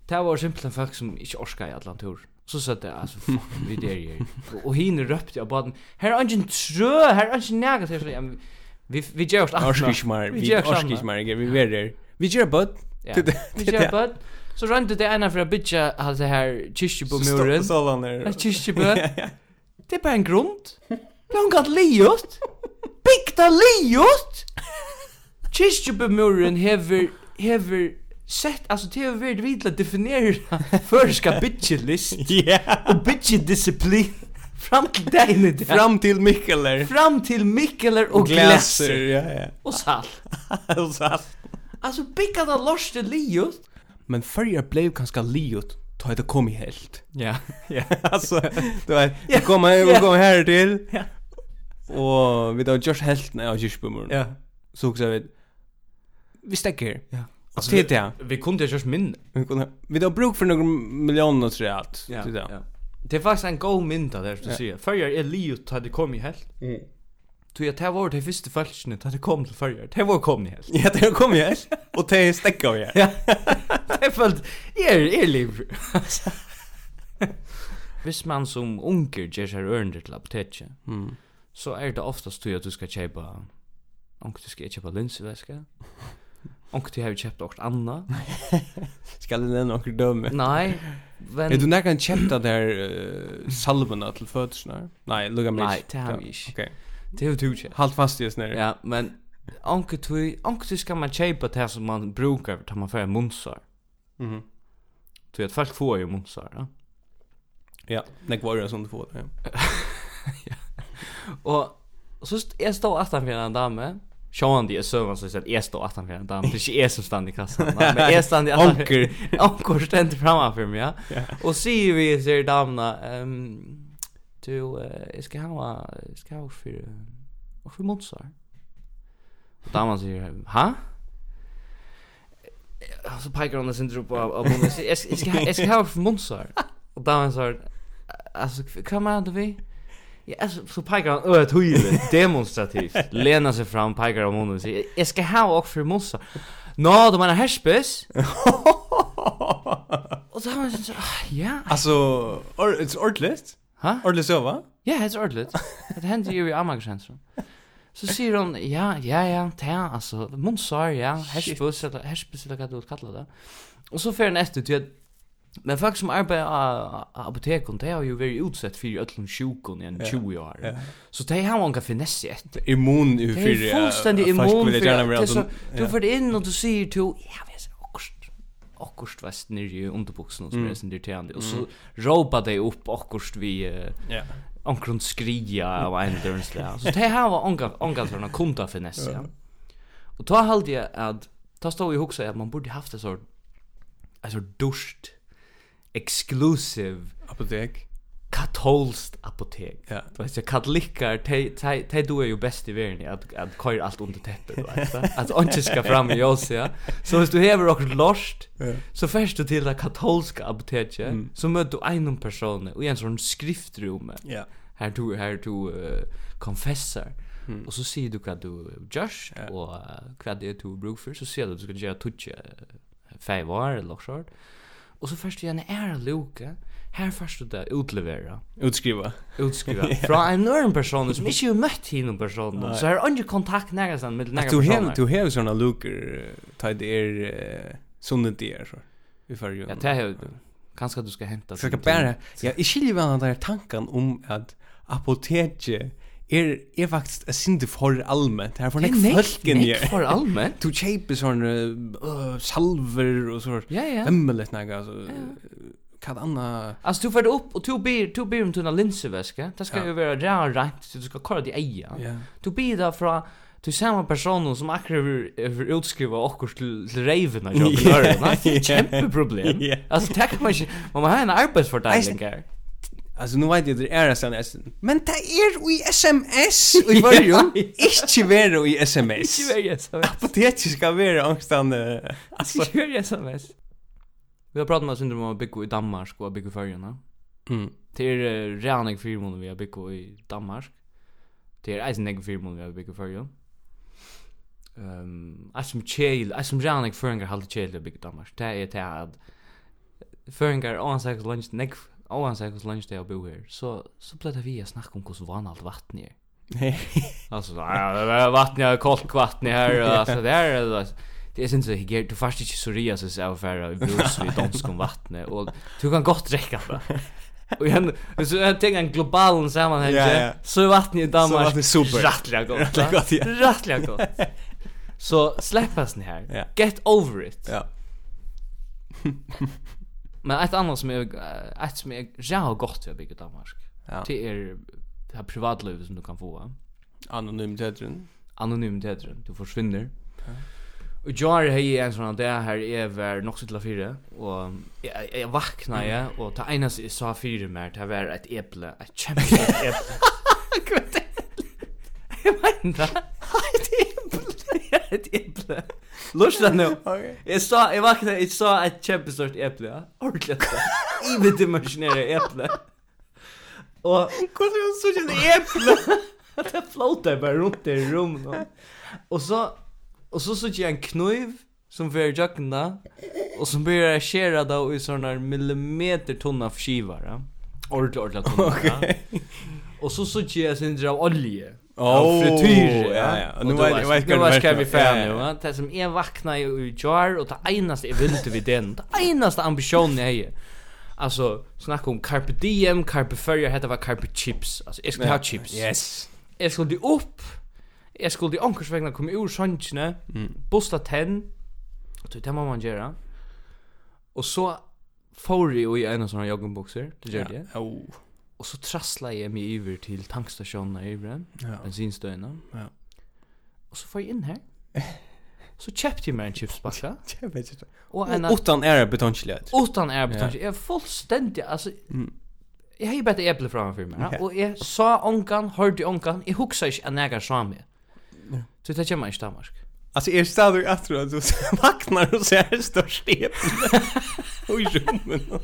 Speaker 3: Det var simpelthen folk som ikke orska i allan tur. Så satt jag alltså fuck vi där ju. Och hin röpte jag bara här är ingen trö, här är ingen nägat här så ja, men vi vi gör oss
Speaker 2: Orskis mer,
Speaker 3: Vi
Speaker 2: vi
Speaker 3: gör samma.
Speaker 2: orskis mer, vi verer. Vi gör bud.
Speaker 3: Ja.
Speaker 2: Det- det-
Speaker 3: Vi
Speaker 2: det- er
Speaker 3: gör
Speaker 2: det-
Speaker 3: bud. Så rönte det ena för att bitcha hade det här kyrkjebomuren.
Speaker 2: Så han där.
Speaker 3: En kyrkjebø. Det er bare en grund. Langt at liot. Bygda liot. Kyrkjebømuren hever, hever sett, altså det har vært vidt å definere føreska bitchelist
Speaker 2: Ja.
Speaker 3: og bitchedisiplin fram til degene der. Fram,
Speaker 2: Fram till Mikkeler.
Speaker 3: fram til mikkeler og
Speaker 2: Glaser,
Speaker 3: glaser
Speaker 2: ja ja.
Speaker 3: og salt.
Speaker 2: Och så allt.
Speaker 3: Altså bygda da lorste liot.
Speaker 2: Men förr blev ganska liot. Ta det kom i helt.
Speaker 3: Ja.
Speaker 2: Ja, alltså du vet,
Speaker 3: Ja,
Speaker 2: vi kommer vi
Speaker 3: ja.
Speaker 2: kommer här till.
Speaker 3: Ja.
Speaker 2: Och vi då just helt när jag just på Så också vi vi stäcker.
Speaker 3: Ja.
Speaker 2: Alltså det där.
Speaker 3: Vi kunde jo just minne.
Speaker 2: Vi kunde vi då bruk för några miljoner tror jag att.
Speaker 3: Ja,
Speaker 2: Det där.
Speaker 3: ja. Det er faktisk en god mynd av det, som du
Speaker 2: Ja.
Speaker 3: sier. Førjar er livet til det kom i helt.
Speaker 2: Mm.
Speaker 3: Tog jeg, det var de første falskene til det kom til førjar. Det var kom i helt.
Speaker 2: Ja, det kom jag. Och det er stäcker vi.
Speaker 3: Ja. Jeg følte, jeg er, jeg er liv. Hvis man som unger gjør seg ørende til apoteket,
Speaker 2: Mm.
Speaker 3: så er det oftast tog at du skal kjøpe, onker du skal kjøpe linsevæske, onker du har kjøpt noe annet.
Speaker 2: Ska det nämna några döme?
Speaker 3: Nei, men...
Speaker 2: Er du nekkan kjent at det er uh, salvena til fødselsna? Nei, lukka meg
Speaker 3: Nei, det har vi ikke.
Speaker 2: Ok,
Speaker 3: Det er jo du kjøpt.
Speaker 2: halt fast i oss nere.
Speaker 3: Ja, men onkur tui, onkur tui skal man kjeipa det som man brukar tar man fyrir munsar.
Speaker 2: Mhm.
Speaker 3: Tui at folk får jo munsar, ja.
Speaker 2: Ja, nek var det er som du får det.
Speaker 3: Og så st jeg stod aftan fyrir en dame, sjåandi jeg søvann så sier at jeg stod aftan fyrir en dame, det er ikke jeg som stand i kassan, nei, men jeg stand i aftan
Speaker 2: Onker.
Speaker 3: Onkur stendur framan fyrir mig, ja.
Speaker 2: Ja.
Speaker 3: Og sier vi sier damna, ehm du, eh, jeg skal hava, jeg skal hava fyrir, fyrir munsar. Og damen sier, ha? Og så peker hon sin drop av, av munnen, jeg skal- jeg skal ha- jeg skal hava fyrir munsar. Og damen sier, altså, hva mener du vi? Ja, altså, så peker han øret høyre, demonstrativt, lener seg fram, peker av munnen og sier, jeg skal hava og fyrir munsar. Nå, du mener herspes? Og så har man sånn, ah, ja,
Speaker 2: altså, or, it's ordentligt.
Speaker 3: Hæ?
Speaker 2: Ordentligt søva?
Speaker 3: ja, det er ordentligt. Det hender jo i Amagersensrum. Så sier hun, ja, ja, ja, det er altså, Monsar, ja, herspes, eller herspes, eller hva du vil kalle det. Og så fer han etter til at, men folk som arbeider av av apoteken, de har jo vært utsett for er ødelen sjukken i en
Speaker 2: Ja,
Speaker 3: 20 år.
Speaker 2: ja.
Speaker 3: Så de har jo ikke finesse etter.
Speaker 2: Immun i
Speaker 3: Det
Speaker 2: fyrir. eh,
Speaker 3: er fullstendig immun
Speaker 2: Folk vil gjerne
Speaker 3: det
Speaker 2: være
Speaker 3: er så- Du
Speaker 2: ja.
Speaker 3: får det inn og du sier til Ja, vi er så akkurst Akkurst vest nere i underbuksen Som er sånn irriterende Og så råpa de opp akkurst vi
Speaker 2: Ja.
Speaker 3: Ankrund skria av en dørnsle Så det her var omgalt for en kunta finesse ja. Og ta halde jeg at Ta stod i hoksa at man burde haft en sånn En sånn dusht Exclusive
Speaker 2: Apotek.
Speaker 3: katolskt apotek.
Speaker 2: Ja.
Speaker 3: Du vet, jag katolikker, te, te, te du är ju bäst i världen att att köra allt under täppet, du vet. Att inte ska fram i oss, ja. Så hvis du hever och lost, så först du till det katolska apoteket,
Speaker 2: Mm.
Speaker 3: så möter du en person och i en sån skriftrum
Speaker 2: Ja.
Speaker 3: här du här du uh, konfessar.
Speaker 2: Mm.
Speaker 3: Och så säger du vad du görs och uh, vad det är du bruk för så ser du att du ska göra tutje fem år eh, eller så. Och så först du gärna är Luka. Här först du det utlevera
Speaker 2: Utskriva.
Speaker 3: utskriva fra en nøren person som ikke har møtt hinnom personen så har ikke kontakt nære seg med
Speaker 2: At
Speaker 3: nære
Speaker 2: du hev,
Speaker 3: personer
Speaker 2: du hev sånne luker, ta det er eh, sunnet det er så. Vi fyrir jo.
Speaker 3: ja, det er jo kanskje du skal hente
Speaker 2: Så jag ska bära. Jag är skiljer väl den där tanken om att apoteket er, är är faktiskt en synd för allmänt. Här får
Speaker 3: det
Speaker 2: ni
Speaker 3: er
Speaker 2: folken ju.
Speaker 3: nekk for allmenn
Speaker 2: Du köper sån uh, salver och så
Speaker 3: ja ja
Speaker 2: hemmeligt några alltså kan anna
Speaker 3: Alltså du färd upp och du ber du ber om tunna linseväska. Det ska
Speaker 2: Ja.
Speaker 3: ju vara rent rätt så du ska kolla det eja.
Speaker 2: ja.
Speaker 3: Du ber där från du samma personen som akkurat över utskriva och till till reven och jag
Speaker 2: Ja.
Speaker 3: gör det. Det är ett jätteproblem.
Speaker 2: Ja.
Speaker 3: Alltså tack man inte- man har en arbetsfördelning här.
Speaker 2: Alltså nu vet jag det er är sen essen. Men det är i SMS i varje. Inte vara i SMS.
Speaker 3: Ikke vær SMS.
Speaker 2: Apoteket ska vara angstan alltså.
Speaker 3: Ikke vær SMS. Vi har pratat med syndrom om Biggo i Danmark och Biggo i Färjorna.
Speaker 2: Mm.
Speaker 3: Det är eh, redan fyra månader vi har Biggo i Danmark. Det är eisen ikke fyra månader vi har Biggo i Färjorna. Ehm, um, som kjel, jeg som rann ikke føringar halte kjel i Big Danmark. Det er til at føringar, oansak lunch, nek oansett hur länge det jag bor här så så blev det vi att snacka om hur vanligt vatten är.
Speaker 2: Nej.
Speaker 3: Alltså ja, er det är vatten är kallt vatten här och alltså där alltså er- Det är synd så här, er- du fast inte psoriasis av färra i brus vid danskom vattnet, och er, du kan gott dricka det. Och jag, så jag tänker en global sammanhang,
Speaker 2: Ja, ja.
Speaker 3: så är vattnet i Danmark
Speaker 2: vattnet är super.
Speaker 3: rättliga gott.
Speaker 2: Rättliga
Speaker 3: va?
Speaker 2: gott, ja.
Speaker 3: Rättliga gott. Så släppas ni här.
Speaker 2: Ja.
Speaker 3: Get over it.
Speaker 2: Ja.
Speaker 3: Men ett annat som är ett som är jävla gott jag bygger Danmark.
Speaker 2: Ja.
Speaker 3: Det är det här privatlivet som du kan få.
Speaker 2: Anonym tedren.
Speaker 3: Anonymiteten, du försvinner. Och jag har ju en sån där här är var nog så till fyra och jag, jag vaknar jag och det ena jag sa fyra mer det var ett äpple, ett kämpestort äpple. Jag vet inte. Ett äpple. Lyssna nu.
Speaker 2: Okej.
Speaker 3: Jag sa, jag vaknade, jag sa ett kämpestort äpple, ja. Ordentligt. Iverdimensionerade äpple. Och... Vad är det som är äpple? Det flåter bara runt i rummet. Och så... Och så såg jag en kniv som för jackorna och som börjar skära då i såna här millimeter tunna skivar. Ja. Ordentligt, ordentligt tunna. Ja. Och så såg jag sin av olja.
Speaker 2: Åh,
Speaker 3: Av frityr,
Speaker 2: Oh, ja, ja.
Speaker 3: Och
Speaker 2: Nu
Speaker 3: nu
Speaker 2: vet-
Speaker 3: var
Speaker 2: jag
Speaker 3: jag
Speaker 2: vet
Speaker 3: vet
Speaker 2: hva du
Speaker 3: kan vi
Speaker 2: merker.
Speaker 3: fan
Speaker 2: Ja, ja,
Speaker 3: nu,
Speaker 2: ja.
Speaker 3: va? Det som jag vaknar i jar och det enaste jag ville vid den. Det enaste ambitionen jag har. Alltså, snacka om carpe diem, carpe ferrier, hette var carpe chips. Alltså, jag skulle ha chips.
Speaker 2: Yes.
Speaker 3: Jeg skulle opp Jeg skulle i ankersvegna komme ur sjansene
Speaker 2: Mm.
Speaker 3: Bosta tenn Og det er det må man gjøre Og så får jeg jo i en av sånne joggenbukser Det gjør det
Speaker 2: Oh.
Speaker 3: Og så trassla jeg meg over til tankstasjonen i Ivren
Speaker 2: Ja.
Speaker 3: Bensinstøyene
Speaker 2: Ja.
Speaker 3: Og så får jeg inn her Så kjøpte jeg meg en chipspakke
Speaker 2: Jag vet inte.
Speaker 3: Og en
Speaker 2: Utan är betongskilet.
Speaker 3: Utan erbetanke. Jag är fullständigt alltså Jag har ju bättre äpple framför mig. Mm. Ja? Och jag sa onkan, hörde onkan, jag huxar inte att nägar sa mig. Så det kommer inte Danmark.
Speaker 2: Alltså är stadig att tro att du vaknar och ser störst er i Oj, rummen.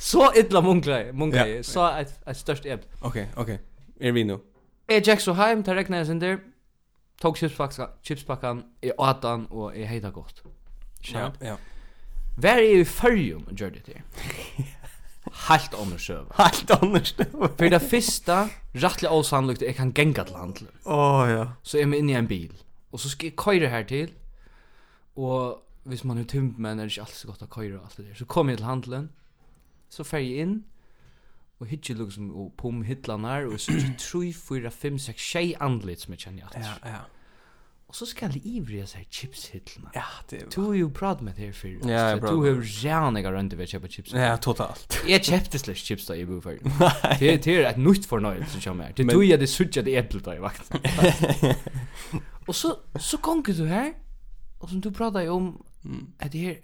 Speaker 3: Så illa munkla jag, munkla
Speaker 2: Ja.
Speaker 3: jag. Sa ett, ett störst äpple.
Speaker 2: Okej, okej. Är vi nu?
Speaker 3: Jag gick så hem, tar räkna jag sen där. Tog chipspackan, chipspackan, jag åt den och jag hejda gott. Ja.
Speaker 2: ja.
Speaker 3: Var är ju färgen och gör det till? Helt undersöva.
Speaker 2: Allt annars.
Speaker 3: För det första, rättliga osannolikt, jag kan gänga till handel.
Speaker 2: Åh, ja.
Speaker 3: Så er vi inne i en bil Og så skal jeg køyre her til Og hvis man er tymt men er det ikke alltid så godt å køyre og alt det der Så kom jeg til handelen Så fer jeg inn Og hittir liksom og pum hittlan her Og så er ikke 3, 4, 5, 6, 6 andlit som jeg kjenner alt
Speaker 2: Ja, ja.
Speaker 3: Og så skal jeg ivre seg chips hittlene
Speaker 2: Ja, det
Speaker 3: Du har jo pratet med det her før
Speaker 2: Ja, jeg
Speaker 3: altså.
Speaker 2: pratet
Speaker 3: Du
Speaker 2: med
Speaker 3: har ræniga rønte ved å kjøpe chips
Speaker 2: Ja, totalt.
Speaker 3: Jeg kjøpte slags chips da jeg bor før Det det er et nytt fornøyelse som kommer her Det
Speaker 2: Men-
Speaker 3: tog jeg det suttet i eplet da jeg vakt Og så, så konger du her Og som du prater jo om um At det her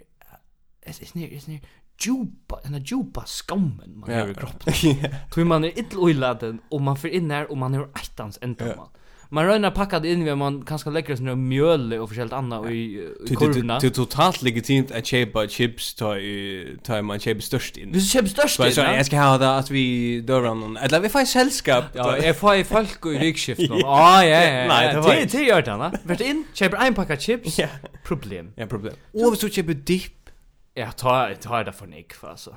Speaker 3: Det er nere, det er nere Djupa, den her djupa skammen man har i kroppen Tog man er ill oiladen Og man får inn her og man er ettans enda man Man røyner pakket inn ved man kanskje legger sånn mjøle og forskjellig annet i, i kurvene
Speaker 2: Det är totalt legitimt att köpa chips ta i ta i man köper störst in.
Speaker 3: Hvis du kjøper størst
Speaker 2: Så jag
Speaker 3: inn, ja.
Speaker 2: jag ska ha det att vi dör av någon. Eller vi får sällskap.
Speaker 3: Ja, jeg får i folk og i vikskiften. Ja, ja,
Speaker 2: Nei,
Speaker 3: ja. Nei,
Speaker 2: det
Speaker 3: det
Speaker 2: var
Speaker 3: var
Speaker 2: ikke.
Speaker 3: ikke. Til gjør det, da. Vært inn, kjøper en pakka chips.
Speaker 2: Ja.
Speaker 3: Problem.
Speaker 2: Ja, problem. Och så köper dipp.
Speaker 3: Ja, ta, ta det for nek, altså.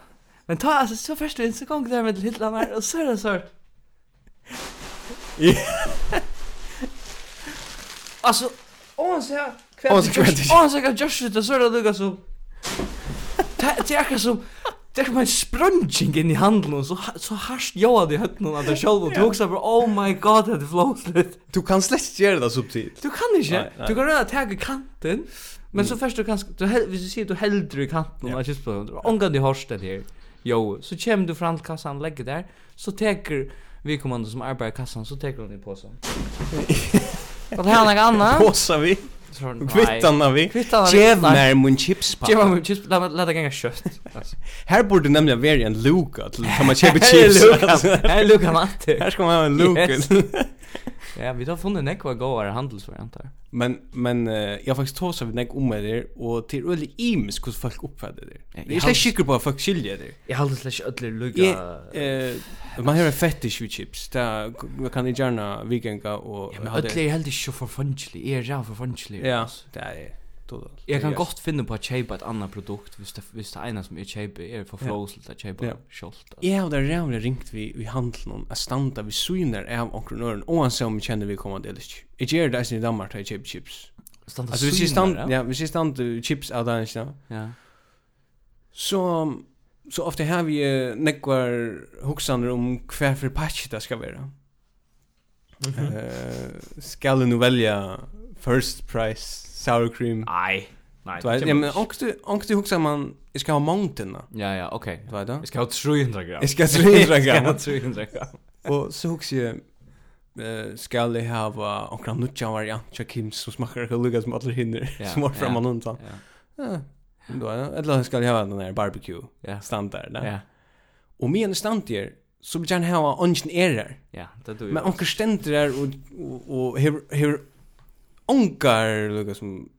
Speaker 3: Men ta, altså, så først du inn, så kom du der med til Hitler her, og så er det sånn.
Speaker 2: Ja.
Speaker 3: Altså, oansett hva
Speaker 2: Oansett hva det
Speaker 3: Josh,
Speaker 2: er.
Speaker 3: oansett hva Josh sitter, så er det lukket som... Det det er akkurat som... Det er akkurat som en sprunging inn i handelen, og så, ha- så harst joa det i høttene av deg selv, og du husker bare, oh my god, det er flåslet.
Speaker 2: Du kan slett göra det subtilt.
Speaker 3: Du kan ikke.
Speaker 2: Nei, Mm. nei.
Speaker 3: Du kan røyna tag i kanten. Men så først du kan du hel, hvis du sier du heldur i kanten yeah. av kjøttbøkken, du omgang i horstet her, jo, så kommer du fram til kassan, legger der, så teker vi kommande som arbeider i kassan, så teker hun i påsen. Og det her er noe annet.
Speaker 2: Påsar vi.
Speaker 3: Så har hun, nei.
Speaker 2: Kvittarna vi. er
Speaker 3: Kvittan har vi.
Speaker 2: Gev
Speaker 3: Nei,
Speaker 2: mig min chipspappa.
Speaker 3: Gjeva meg kjøtt, la meg la det ganga kjøtt. altså.
Speaker 2: Här borde nämligen vara en luka till att man köper
Speaker 3: Her er
Speaker 2: chips.
Speaker 3: Luka- her er Luka Matti.
Speaker 2: Här ska man ha en luka.
Speaker 3: Yes. Ja, vi har funnet nekva gåare handelsvarianter.
Speaker 2: Men men eh, jag har faktiskt tåsar vid nägg om med det och till öle ims hur folk uppfattar det.
Speaker 3: Ja,
Speaker 2: Det är
Speaker 3: jag-
Speaker 2: släkt skickar på att folk skiljer det.
Speaker 3: Jeg halder slags ødler
Speaker 2: Jag
Speaker 3: lukka...
Speaker 2: eh man har en fetish with chips. Där kan ni gärna vikenga och
Speaker 3: Ja, men
Speaker 2: ha det.
Speaker 3: ödler er heldig ikke for funchli, er ja for funchli.
Speaker 2: Ja, det är total.
Speaker 3: Jag kan gott finna på att köpa ett annat produkt hvis det, hvis det ena som er jag köper är för flåsligt att köpa
Speaker 2: Ja.
Speaker 3: yeah. kjolt.
Speaker 2: Jeg har det rævlig ringt vi i handelen at standa vi syner av onkronøren, og han ser om vi kjenner vi kommer til ikke. Jeg gjør det eisen i Danmark, da jeg kjøper chips.
Speaker 3: Standa
Speaker 2: Altså, hvis jeg stand, ja, hvis jeg stand uh, chips av Danmark, ja,
Speaker 3: ja.
Speaker 2: så, så ofte har vi uh, nekvar hoksaner om hver for patch det skal være. Mm
Speaker 3: Mhm.
Speaker 2: skal du nå velge first price sour cream?
Speaker 3: Nej. Nej.
Speaker 2: Du vet, ja, men onkte, onkte hoksar man, jeg skal ha mountaina,
Speaker 3: Ja, ja, okej.
Speaker 2: du vet da?
Speaker 3: Jag ska ha 300 gram.
Speaker 2: Jeg skal ha 300
Speaker 3: Jag ska
Speaker 2: gram.
Speaker 3: ha 300 gram.
Speaker 2: Og så husker jeg eh skal jeg hava onkra nutja variant tja Kim som smakkar ikke lukka som alle hinner
Speaker 3: Ja,
Speaker 2: som var fram
Speaker 3: ja.
Speaker 2: og undan. Eh,
Speaker 3: Ja.
Speaker 2: Ja, Då är eller skal jeg hava den der barbecue
Speaker 3: Ja.
Speaker 2: standard där.
Speaker 3: Ja.
Speaker 2: Og med en stand der så vil jeg hava ungen erer.
Speaker 3: Ja, det er du.
Speaker 2: Men onkra stender der og og- og hevur hevur onkar lukka som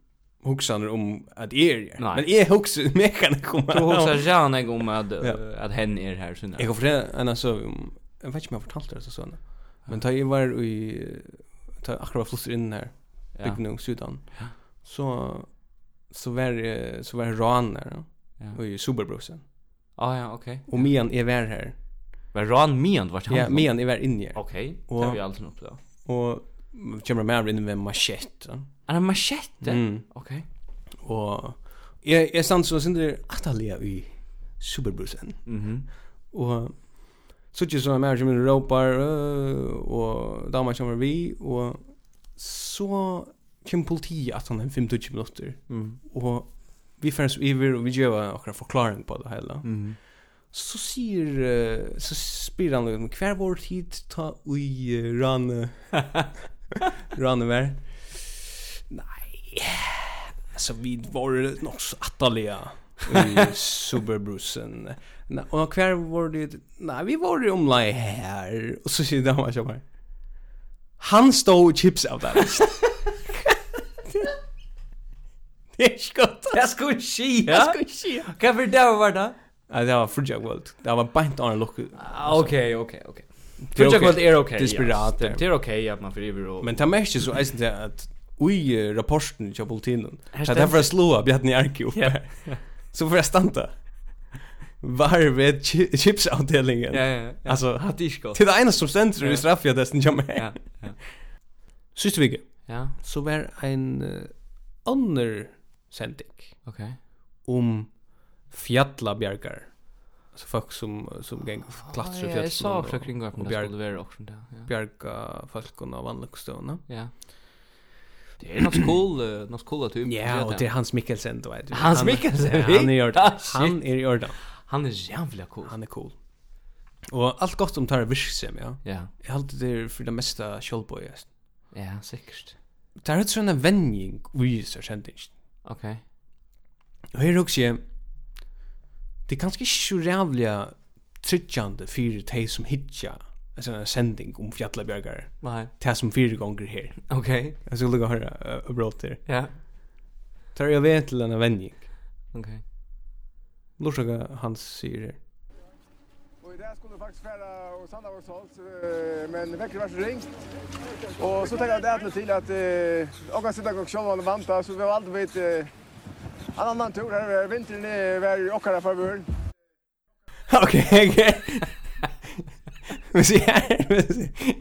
Speaker 2: hugsanar om at er er.
Speaker 3: Nei.
Speaker 2: Men jeg hugsar mekan koma.
Speaker 3: Du huxar Jan jag om att
Speaker 2: Ja.
Speaker 3: att hen er är här sen.
Speaker 2: Jeg kan fortelle en altså, om- jeg vet ikke om jeg fortalte det til sånne, men da jeg var i, da jeg akkurat var flusser inn her,
Speaker 3: Ja.
Speaker 2: bygden i Sudan,
Speaker 3: Ja.
Speaker 2: så, så var jeg, så var jeg ran her,
Speaker 3: Ja.
Speaker 2: og i Superbrosen.
Speaker 3: Ah, ja, okej.
Speaker 2: Og medan jeg var her,
Speaker 3: Men Ran Mian vart han.
Speaker 2: ja, medan jag var inne her,
Speaker 3: Okej. Det
Speaker 2: Och-
Speaker 3: har vi alltid upp då.
Speaker 2: og kommer med inn med en machett, ja.
Speaker 3: Är Er det machete?
Speaker 2: Mm.
Speaker 3: Okej.
Speaker 2: og jeg, jeg stand så sindre atalia i Superbrosen.
Speaker 3: Mhm.
Speaker 2: Og så ikke sånn mer som en råpar, øh, og damer kommer vi, og så kommer politiet at han er 25 minutter,
Speaker 3: Mm.
Speaker 2: og vi færdes iver, og vi gjør akkurat forklaring på det hele.
Speaker 3: Mhm.
Speaker 2: Så sier, øh, så spyr han liksom, hver vår tid ta ui øh, rane, rane vær? Nei, altså vi var nok så attalega i superbrusen. Nei, og hver var det, nei, vi var i omlai her, og så sier dama kjøp her. Han stå chips av der. Det er ikke godt.
Speaker 3: Jag ska se.
Speaker 2: Det
Speaker 3: Ja.
Speaker 2: skal ikke skje.
Speaker 3: Kan vi där vart då?
Speaker 2: Nei, det var Frugja World. Det var beint an lukku.
Speaker 3: Ah, Okej, okej, okej. Frugja
Speaker 2: okej.
Speaker 3: kvart är okej.
Speaker 2: Desperat,
Speaker 3: ja.
Speaker 2: ja.
Speaker 3: Det det är okej att man föriver och
Speaker 2: Men ta mest så eisen til at ui eh, rapporten til politinen.
Speaker 3: Här
Speaker 2: Det er for å slå av Bjarni Arki opp
Speaker 3: Ja.
Speaker 2: her. Så får jeg standa. Var ved chi- chipsavdelingen.
Speaker 3: Ja, ja, ja.
Speaker 2: Alltså,
Speaker 3: hade jag skott.
Speaker 2: Til det ene som stender
Speaker 3: Ja.
Speaker 2: i straffjadesten kommer her.
Speaker 3: Ja, ja.
Speaker 2: Siste vike,
Speaker 3: Ja,
Speaker 2: så var ein eh, anner sending
Speaker 3: okej.
Speaker 2: om fjallabjergar. Altså folk som, som geng klatrer
Speaker 3: Ah, Ja, jag sa
Speaker 2: og-
Speaker 3: också kring att
Speaker 2: och
Speaker 3: det
Speaker 2: bjärg-
Speaker 3: skulle vara också där. Ja.
Speaker 2: bjerga folkene av anleggsstående.
Speaker 3: Ja. Det är något cool, eh, något cool att du
Speaker 2: Ja, och det är Hans Mikkelsen då vet du.
Speaker 3: Hans
Speaker 2: Han-
Speaker 3: Mikkelsen,
Speaker 2: Ja, han är i
Speaker 3: vi-
Speaker 2: Jordan.
Speaker 3: Ah, shit.
Speaker 2: Han är i Jordan.
Speaker 3: han är jävla cool.
Speaker 2: Han är cool. Och allt gott om tar virksam, ja.
Speaker 3: Ja,
Speaker 2: Jag har alltid det för det mesta kjolboy. yes.
Speaker 3: ja, säkert.
Speaker 2: Det er är ett sådana vänjning vi så kände inte.
Speaker 3: Okej.
Speaker 2: Och här också jag- det er är ganska så jävla tryggjande för dig som hittar en sån här sändning om fjallabjörgar.
Speaker 3: Nej.
Speaker 2: Det här som fyra gånger här.
Speaker 3: Okej.
Speaker 2: Jag skulle lugga höra uh, abroad där.
Speaker 3: Ja.
Speaker 2: Tar jag vet till denna vänjning.
Speaker 3: Okej.
Speaker 2: Lorsaka han säger det.
Speaker 7: Og i dag skulle vi faktisk være hos Sandavågsholt, eh, men vekker var så ringt. Og så tenker jeg det til at eh, og jeg sitter og sjøen og vant, så vi har alltid vært eh, en annan tur her. Vinteren er vær i okkara favør.
Speaker 2: Okej, okej. Men så här, men så-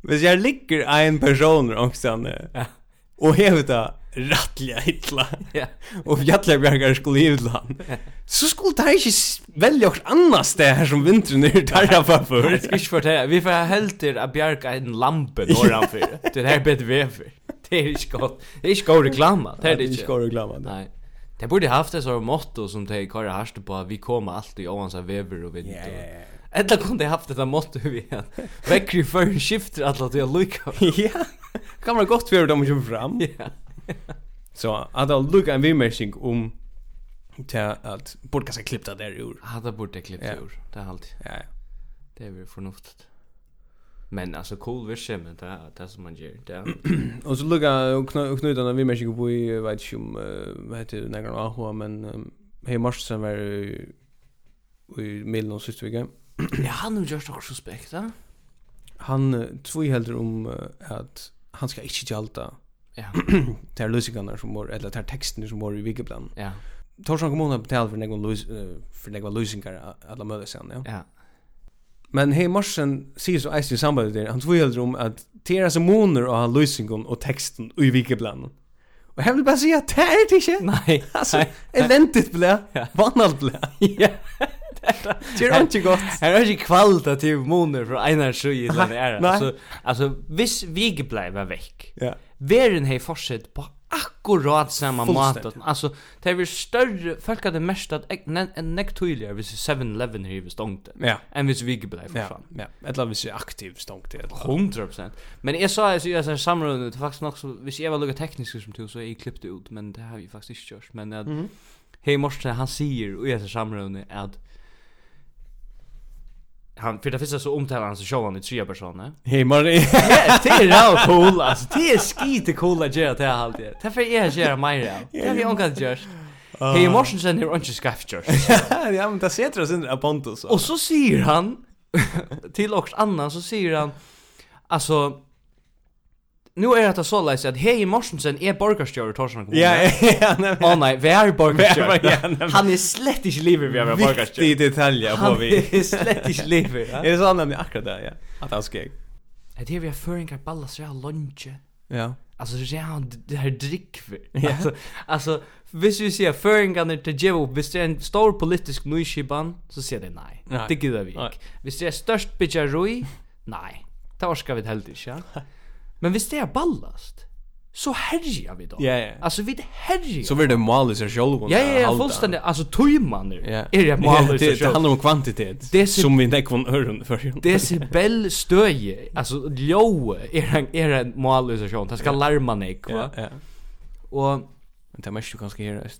Speaker 2: men så här ligger en person också
Speaker 3: Ja.
Speaker 2: och hävda rattliga hitla
Speaker 3: Ja.
Speaker 2: och fjättliga bjärgar skulle hitla han. Så skulle det här inte s- välja också annars det här som er vintern är där för
Speaker 3: Jag
Speaker 2: för.
Speaker 3: ska inte fortälla. Vi får helt till att bjärka en lampa norran för. Det här är bättre väver. Det är inte gott. Det er är inte god reklam.
Speaker 2: er
Speaker 3: Det är det inte.
Speaker 2: skor och glömma det.
Speaker 3: Nej. Det borde haft det sådär motto som de kör harst på att vi kommer alltid ovansa väver och vind.
Speaker 2: Ja,
Speaker 3: och-
Speaker 2: ja,
Speaker 3: Ella kunde jag haft detta motto vi att väcker för skifter alla till lucka.
Speaker 2: ja. Ja. Kan man gott för dem att köra fram.
Speaker 3: Ja.
Speaker 2: Så att jag lukar en vimmärkning om till att borde kanske klippta där ur.
Speaker 3: Hade borde klippt
Speaker 2: Ja.
Speaker 3: ur. Det är alltid
Speaker 2: Ja, ja.
Speaker 3: det är väl förnuftigt. er Men alltså cool visst men det är det som man gör. Det är
Speaker 2: Och så lukka och knu- och knutarna vi människor på i jag vet inte om eh, vad heter det några AH men um, hej Marsen var i- i Milan och sist vecka.
Speaker 3: ja, han har gjort också suspekt, va?
Speaker 2: um, eh, Han två helder om eh, att han ska inte jalta
Speaker 3: Ja.
Speaker 2: ter lusingarna som var eller ter texten som var i Vigeplan.
Speaker 3: Ja.
Speaker 2: Torshavn kommun har betalt för någon lus för några lusingar alla möjliga sen, ja.
Speaker 3: Ja.
Speaker 2: Men hej Morsen säger så äst i samband där han tvivlar om att Tera som moner och han lusingon och texten i Vigeplan. Och jag vill bara er säga att det är det inte.
Speaker 3: Nei.
Speaker 2: Alltså, eländigt blä. Vannalt blä.
Speaker 3: Ja.
Speaker 2: Det er är inte gott.
Speaker 3: Här är ju er kvalitativ moner från Einar Sjö i den här.
Speaker 2: Nei.
Speaker 3: Alltså alltså vis vi blev veck.
Speaker 2: Ja.
Speaker 3: Världen har fortsatt på akkurat samma
Speaker 2: Fullständigt.
Speaker 3: måte. Alltså det är väl större folk hade mest att en neck tydligare vis 7-Eleven här i stångte.
Speaker 2: Ja.
Speaker 3: Än vis vi blev
Speaker 2: Ja,
Speaker 3: försvann.
Speaker 2: ja. Eller hvis jeg aktiv stångt til.
Speaker 3: 100%. Men jag sa alltså jag sa samråd det är faktiskt något så hvis jag var lugg teknisk som till så är jag klippt ut men det har vi faktiskt inte gjort men att mm. hej Morsen han säger och jag sa samråd att han för det första så omtalar han så show han i tre personer.
Speaker 2: Hej Marie.
Speaker 3: Ja, det er är rätt cool alltså. Det er är skite cool att göra det här allt. Därför är jag gör mig det. Det har vi onkat gjort. Hej Morsen sen är inte skaft gjort.
Speaker 2: ja, men det sätter oss in i Pontus.
Speaker 3: Och så säger han till oss annan så säger han alltså nu är det så läs att Hej Morsensen är borgarstjör i Torshavn kommun.
Speaker 2: Ja, ja, nej.
Speaker 3: Åh nej, vi är borgarstjör.
Speaker 2: Ja, ja, nej.
Speaker 3: Han är slett inte livet vi har varit borgarstjör.
Speaker 2: Viktig detalj på
Speaker 3: Han
Speaker 2: vi.
Speaker 3: är slett inte livet. Er
Speaker 2: Är Er det så nämligen akkurat det, ja. Att han skeg.
Speaker 3: Det är vi har föringar ballas så jag har lunche.
Speaker 2: Ja.
Speaker 3: Alltså så är han det här drickver. Alltså alltså hvis vi ser föringarna till Jevo hvis det är en stor politisk nyskiban så ser det nej.
Speaker 2: Nej.
Speaker 3: Det gillar vi.
Speaker 2: Nej.
Speaker 3: Ikke. Hvis det är störst bitjaroi, nej. Det orskar vi helt inte. Ja? Men hvis det är ballast så härjar vi då.
Speaker 2: Ja, ja.
Speaker 3: Alltså vi härjar.
Speaker 2: Så blir det mål i sig själv.
Speaker 3: ja ja ja fullständigt alltså tojman nu. Är det
Speaker 2: er Ja,
Speaker 3: mål i sig
Speaker 2: Er Det det
Speaker 3: själv?
Speaker 2: handlar om kvantitet.
Speaker 3: Det är så-
Speaker 2: Som vi inte kan öron för.
Speaker 3: Decibel stöje, alltså ljoe, är en, är en mål i sig själv. Det ska larma nek, va?
Speaker 2: Ja, ja.
Speaker 3: Och
Speaker 2: Men det er mest du kanske göra är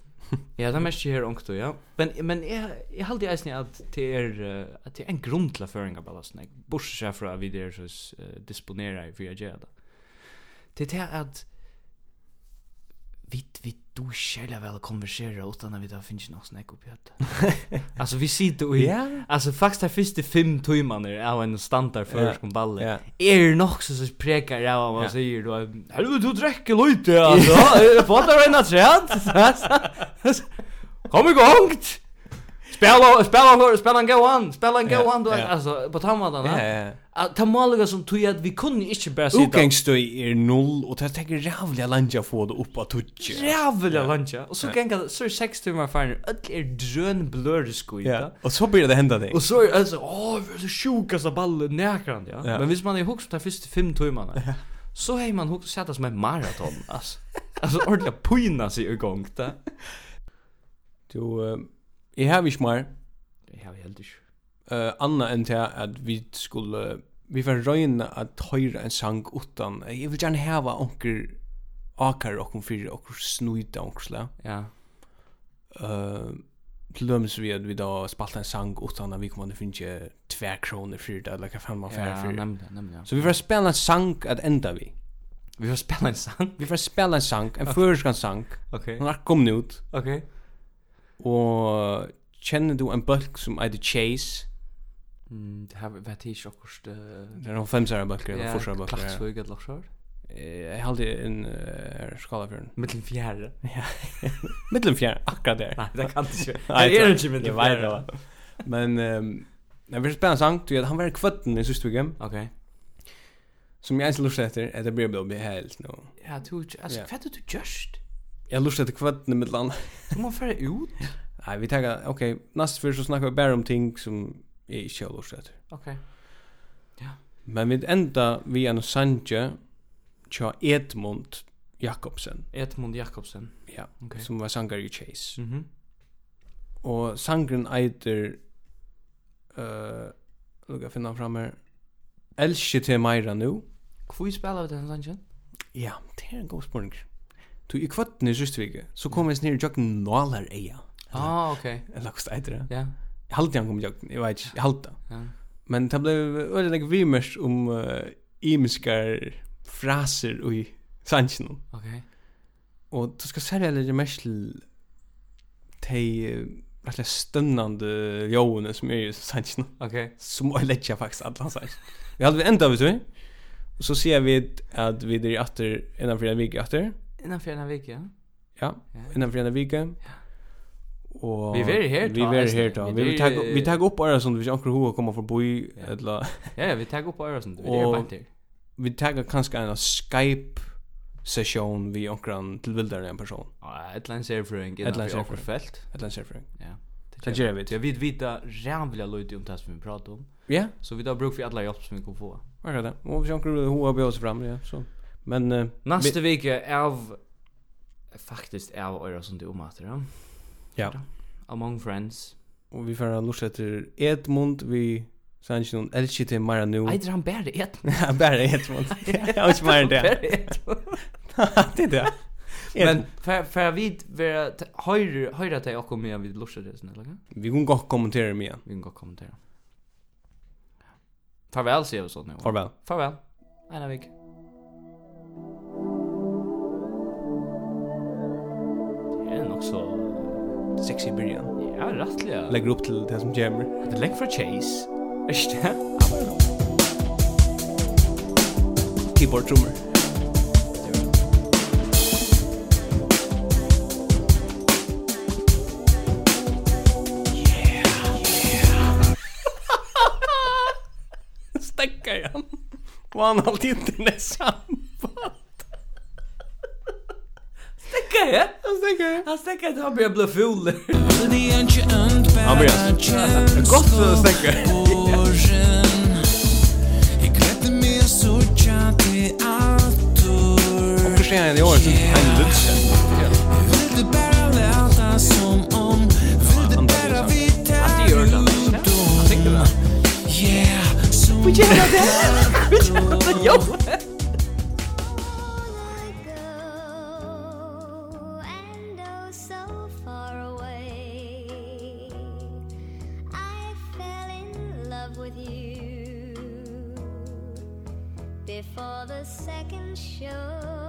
Speaker 3: Ja, det mest her onkto, ja. Men men jeg jeg haldi eisini at det er eh, at det er en grunn til føringa ballasten. Jeg bursa seg fra vi der så eh, disponera i fyrir gjera det. Det er det at vi vi du skjelja vel konversera utan at vi da finnes nok snakk oppi hatt. altså vi sitter og
Speaker 2: Ja.
Speaker 3: altså faktisk de første fem timene av en standard førsk om balle.
Speaker 2: Ja.
Speaker 3: Er nok så så prekar av hva man
Speaker 2: Ja.
Speaker 3: sier du. Helvete, du drekker lite, altså. Fattar du en av træt? Kom i gångt! Spela, spela, spela en go on, spela en go
Speaker 2: Ja,
Speaker 3: on, du,
Speaker 2: ja.
Speaker 3: altså, på tammadan,
Speaker 2: Ja,
Speaker 3: ja.
Speaker 2: ja.
Speaker 3: Ta maliga som tog at vi kunne ikke bare sitta
Speaker 2: Utgångsstøy er null, og det tenker rævlig at landa få det opp av tutje.
Speaker 3: rævla luncha, og så ganga, så er seks timmar farnir, öll er drøn bløri
Speaker 2: Ja.
Speaker 3: skuita,
Speaker 2: Og så blir det henda ting.
Speaker 3: og så er altså, åh, vi er så sjukast av ballen nekrand, ja.
Speaker 2: Ja.
Speaker 3: Men hvis man er hukst på de første fem timmarna, så hei man hukst sett som en maraton, altså. Altså, ordentlig pyna sig i gang, da.
Speaker 2: Du, eh, jeg har ikke mer.
Speaker 3: Det har vi helt ikke.
Speaker 2: uh, anna enn til at vi skulle vi var røyna at høyra en sang utan jeg vil gjerne heva onker akar okkur fyrir okkur snuida onkur slag
Speaker 3: Ja,
Speaker 2: uh, til dømes vi at vi da spalta en sang utan at vi kom an finnje tver kroner fyrir det eller hva fan man fyrir
Speaker 3: ja,
Speaker 2: fyrir
Speaker 3: nemlig, nemlig, ja.
Speaker 2: så vi var spela en sang at enda vi
Speaker 3: Vi får spela en sang.
Speaker 2: vi var spela en sang en føreskan sang
Speaker 3: Ok,
Speaker 2: han har kom ut
Speaker 3: ok.
Speaker 2: og eh, kjenner du en bølk som heter Chase
Speaker 3: Mm, det här vet jag inte också.
Speaker 2: det er noen femsara bølker eller forsara bølker ja.
Speaker 3: Klaxvig eller så.
Speaker 2: Eh, Jeg halde en uh, skala for den.
Speaker 3: Mittel fjärde.
Speaker 2: Mittlen fjär, akkurat der.
Speaker 3: Nej, det kan inte.
Speaker 2: Nei,
Speaker 3: Det är inte mittel
Speaker 2: Jeg vet det
Speaker 3: fjärde.
Speaker 2: va. Men ehm Jag vill spela en sang, du vet, han var i kvötten i sista veckan
Speaker 3: Okej.
Speaker 2: Som jag inte lust efter, att det blir då bli helt nu
Speaker 3: Ja, du alltså
Speaker 2: Ja.
Speaker 3: vad du just.
Speaker 2: Jag lust efter kvötten i mitt land
Speaker 3: Du måste fara ut.
Speaker 2: Nej, vi tänker, okej, nästa för så snackar vi bara om ting som jag inte har lust efter
Speaker 3: Okej.
Speaker 2: Men vi enda vi en sanje Tja Edmund Jakobsen
Speaker 3: Edmund Jakobsen.
Speaker 2: Ja,
Speaker 3: Okej.
Speaker 2: som var sangare i Chase
Speaker 3: Mhm.
Speaker 2: Og sangren eiter uh, Lukka finna fram her Elskje til meira nu
Speaker 3: Kvui spelar vi den sangen?
Speaker 2: Ja, det er en god spurning Du, i kvatten i Rystvike Så kom jeg snir i jøkken Nålar eia
Speaker 3: Ah, okej.
Speaker 2: Eller hva det eiter det
Speaker 3: Ja.
Speaker 2: Jeg halte han kom i jøkken, jeg vet ikke, jeg halte
Speaker 3: Ja.
Speaker 2: Men det ble øyelig vimers om uh, Imiskar fraser i sangen
Speaker 3: Okej.
Speaker 2: Og du skal særlig legge mest til De eh, rettelig stønnande Jåene som er i sangen
Speaker 3: Okej.
Speaker 2: som jag lägger faktiskt alla sig. Vi hade vi ända vet du. Så ser vi att vi är efter innan fredag vecka efter.
Speaker 3: Innan för en vecka.
Speaker 2: Ja,
Speaker 3: Ja.
Speaker 2: innan fredag vecka. Och
Speaker 3: Vi verður her
Speaker 2: Vi
Speaker 3: tá,
Speaker 2: är
Speaker 3: eisini.
Speaker 2: här då.
Speaker 3: Vi
Speaker 2: Vi
Speaker 3: verður-
Speaker 2: tar vi tar upp bara sånt vi inte anker hur kommer förbi
Speaker 3: Ja.
Speaker 2: eller
Speaker 3: Ja, ja, vi tar upp öra sånt. Vi är
Speaker 2: Og-
Speaker 3: bant där.
Speaker 2: vi tar kanske en Skype session vi anker till vildare en person.
Speaker 3: Ja, ett lands erfröing
Speaker 2: Ett
Speaker 3: innan
Speaker 2: lands
Speaker 3: för
Speaker 2: erfrøying.
Speaker 3: fält.
Speaker 2: Ett eller annat
Speaker 3: Ja.
Speaker 2: Det gör vi.
Speaker 3: Jag vet vita rävliga lite om det som vi pratar om.
Speaker 2: Ja,
Speaker 3: Så vi tar bruk för alla hjälp som vi kan få.
Speaker 2: vad det? Och vi anker hur har vi oss fram ja, så. Men eh,
Speaker 3: Nästa vecka är av faktiskt är av öra sånt om att det.
Speaker 2: ja,
Speaker 3: Among friends.
Speaker 2: och vi får lusta efter Edmund vi Sanchi någon Elchi till Mara nu.
Speaker 3: Nej, det han bär det ett.
Speaker 2: Bara Edmund. Jag har inte mer än det. Det är det.
Speaker 3: Men för för vi vara höra höra dig och komma vid lusha det sen eller?
Speaker 2: Vi kan godt kommentere dem igjen.
Speaker 3: Vi kan gå och kommentera. Farväl säger vi så nu.
Speaker 2: Farvel.
Speaker 3: Farväl. Ena vecka. Det är nog så
Speaker 2: Sexy byrjan.
Speaker 3: ja, rättliga.
Speaker 2: Legger opp til det som kommer.
Speaker 3: Det är länge för Chase. Är det?
Speaker 2: Keyboard-trommer. Stackar han. Och han har alltid internet samband.
Speaker 3: Stackar jag? Han stackar. Han stackar att han börjar bli ful.
Speaker 2: Han börjar. Gott eh, för stackar. Och förstår jag i år så är han lutsen. Han börjar ju så.
Speaker 3: Att det gör det. Han tycker det. Vi känner det. Vi känner det. Jo.
Speaker 1: ago, and oh, so far away, I fell in love with you before the second show.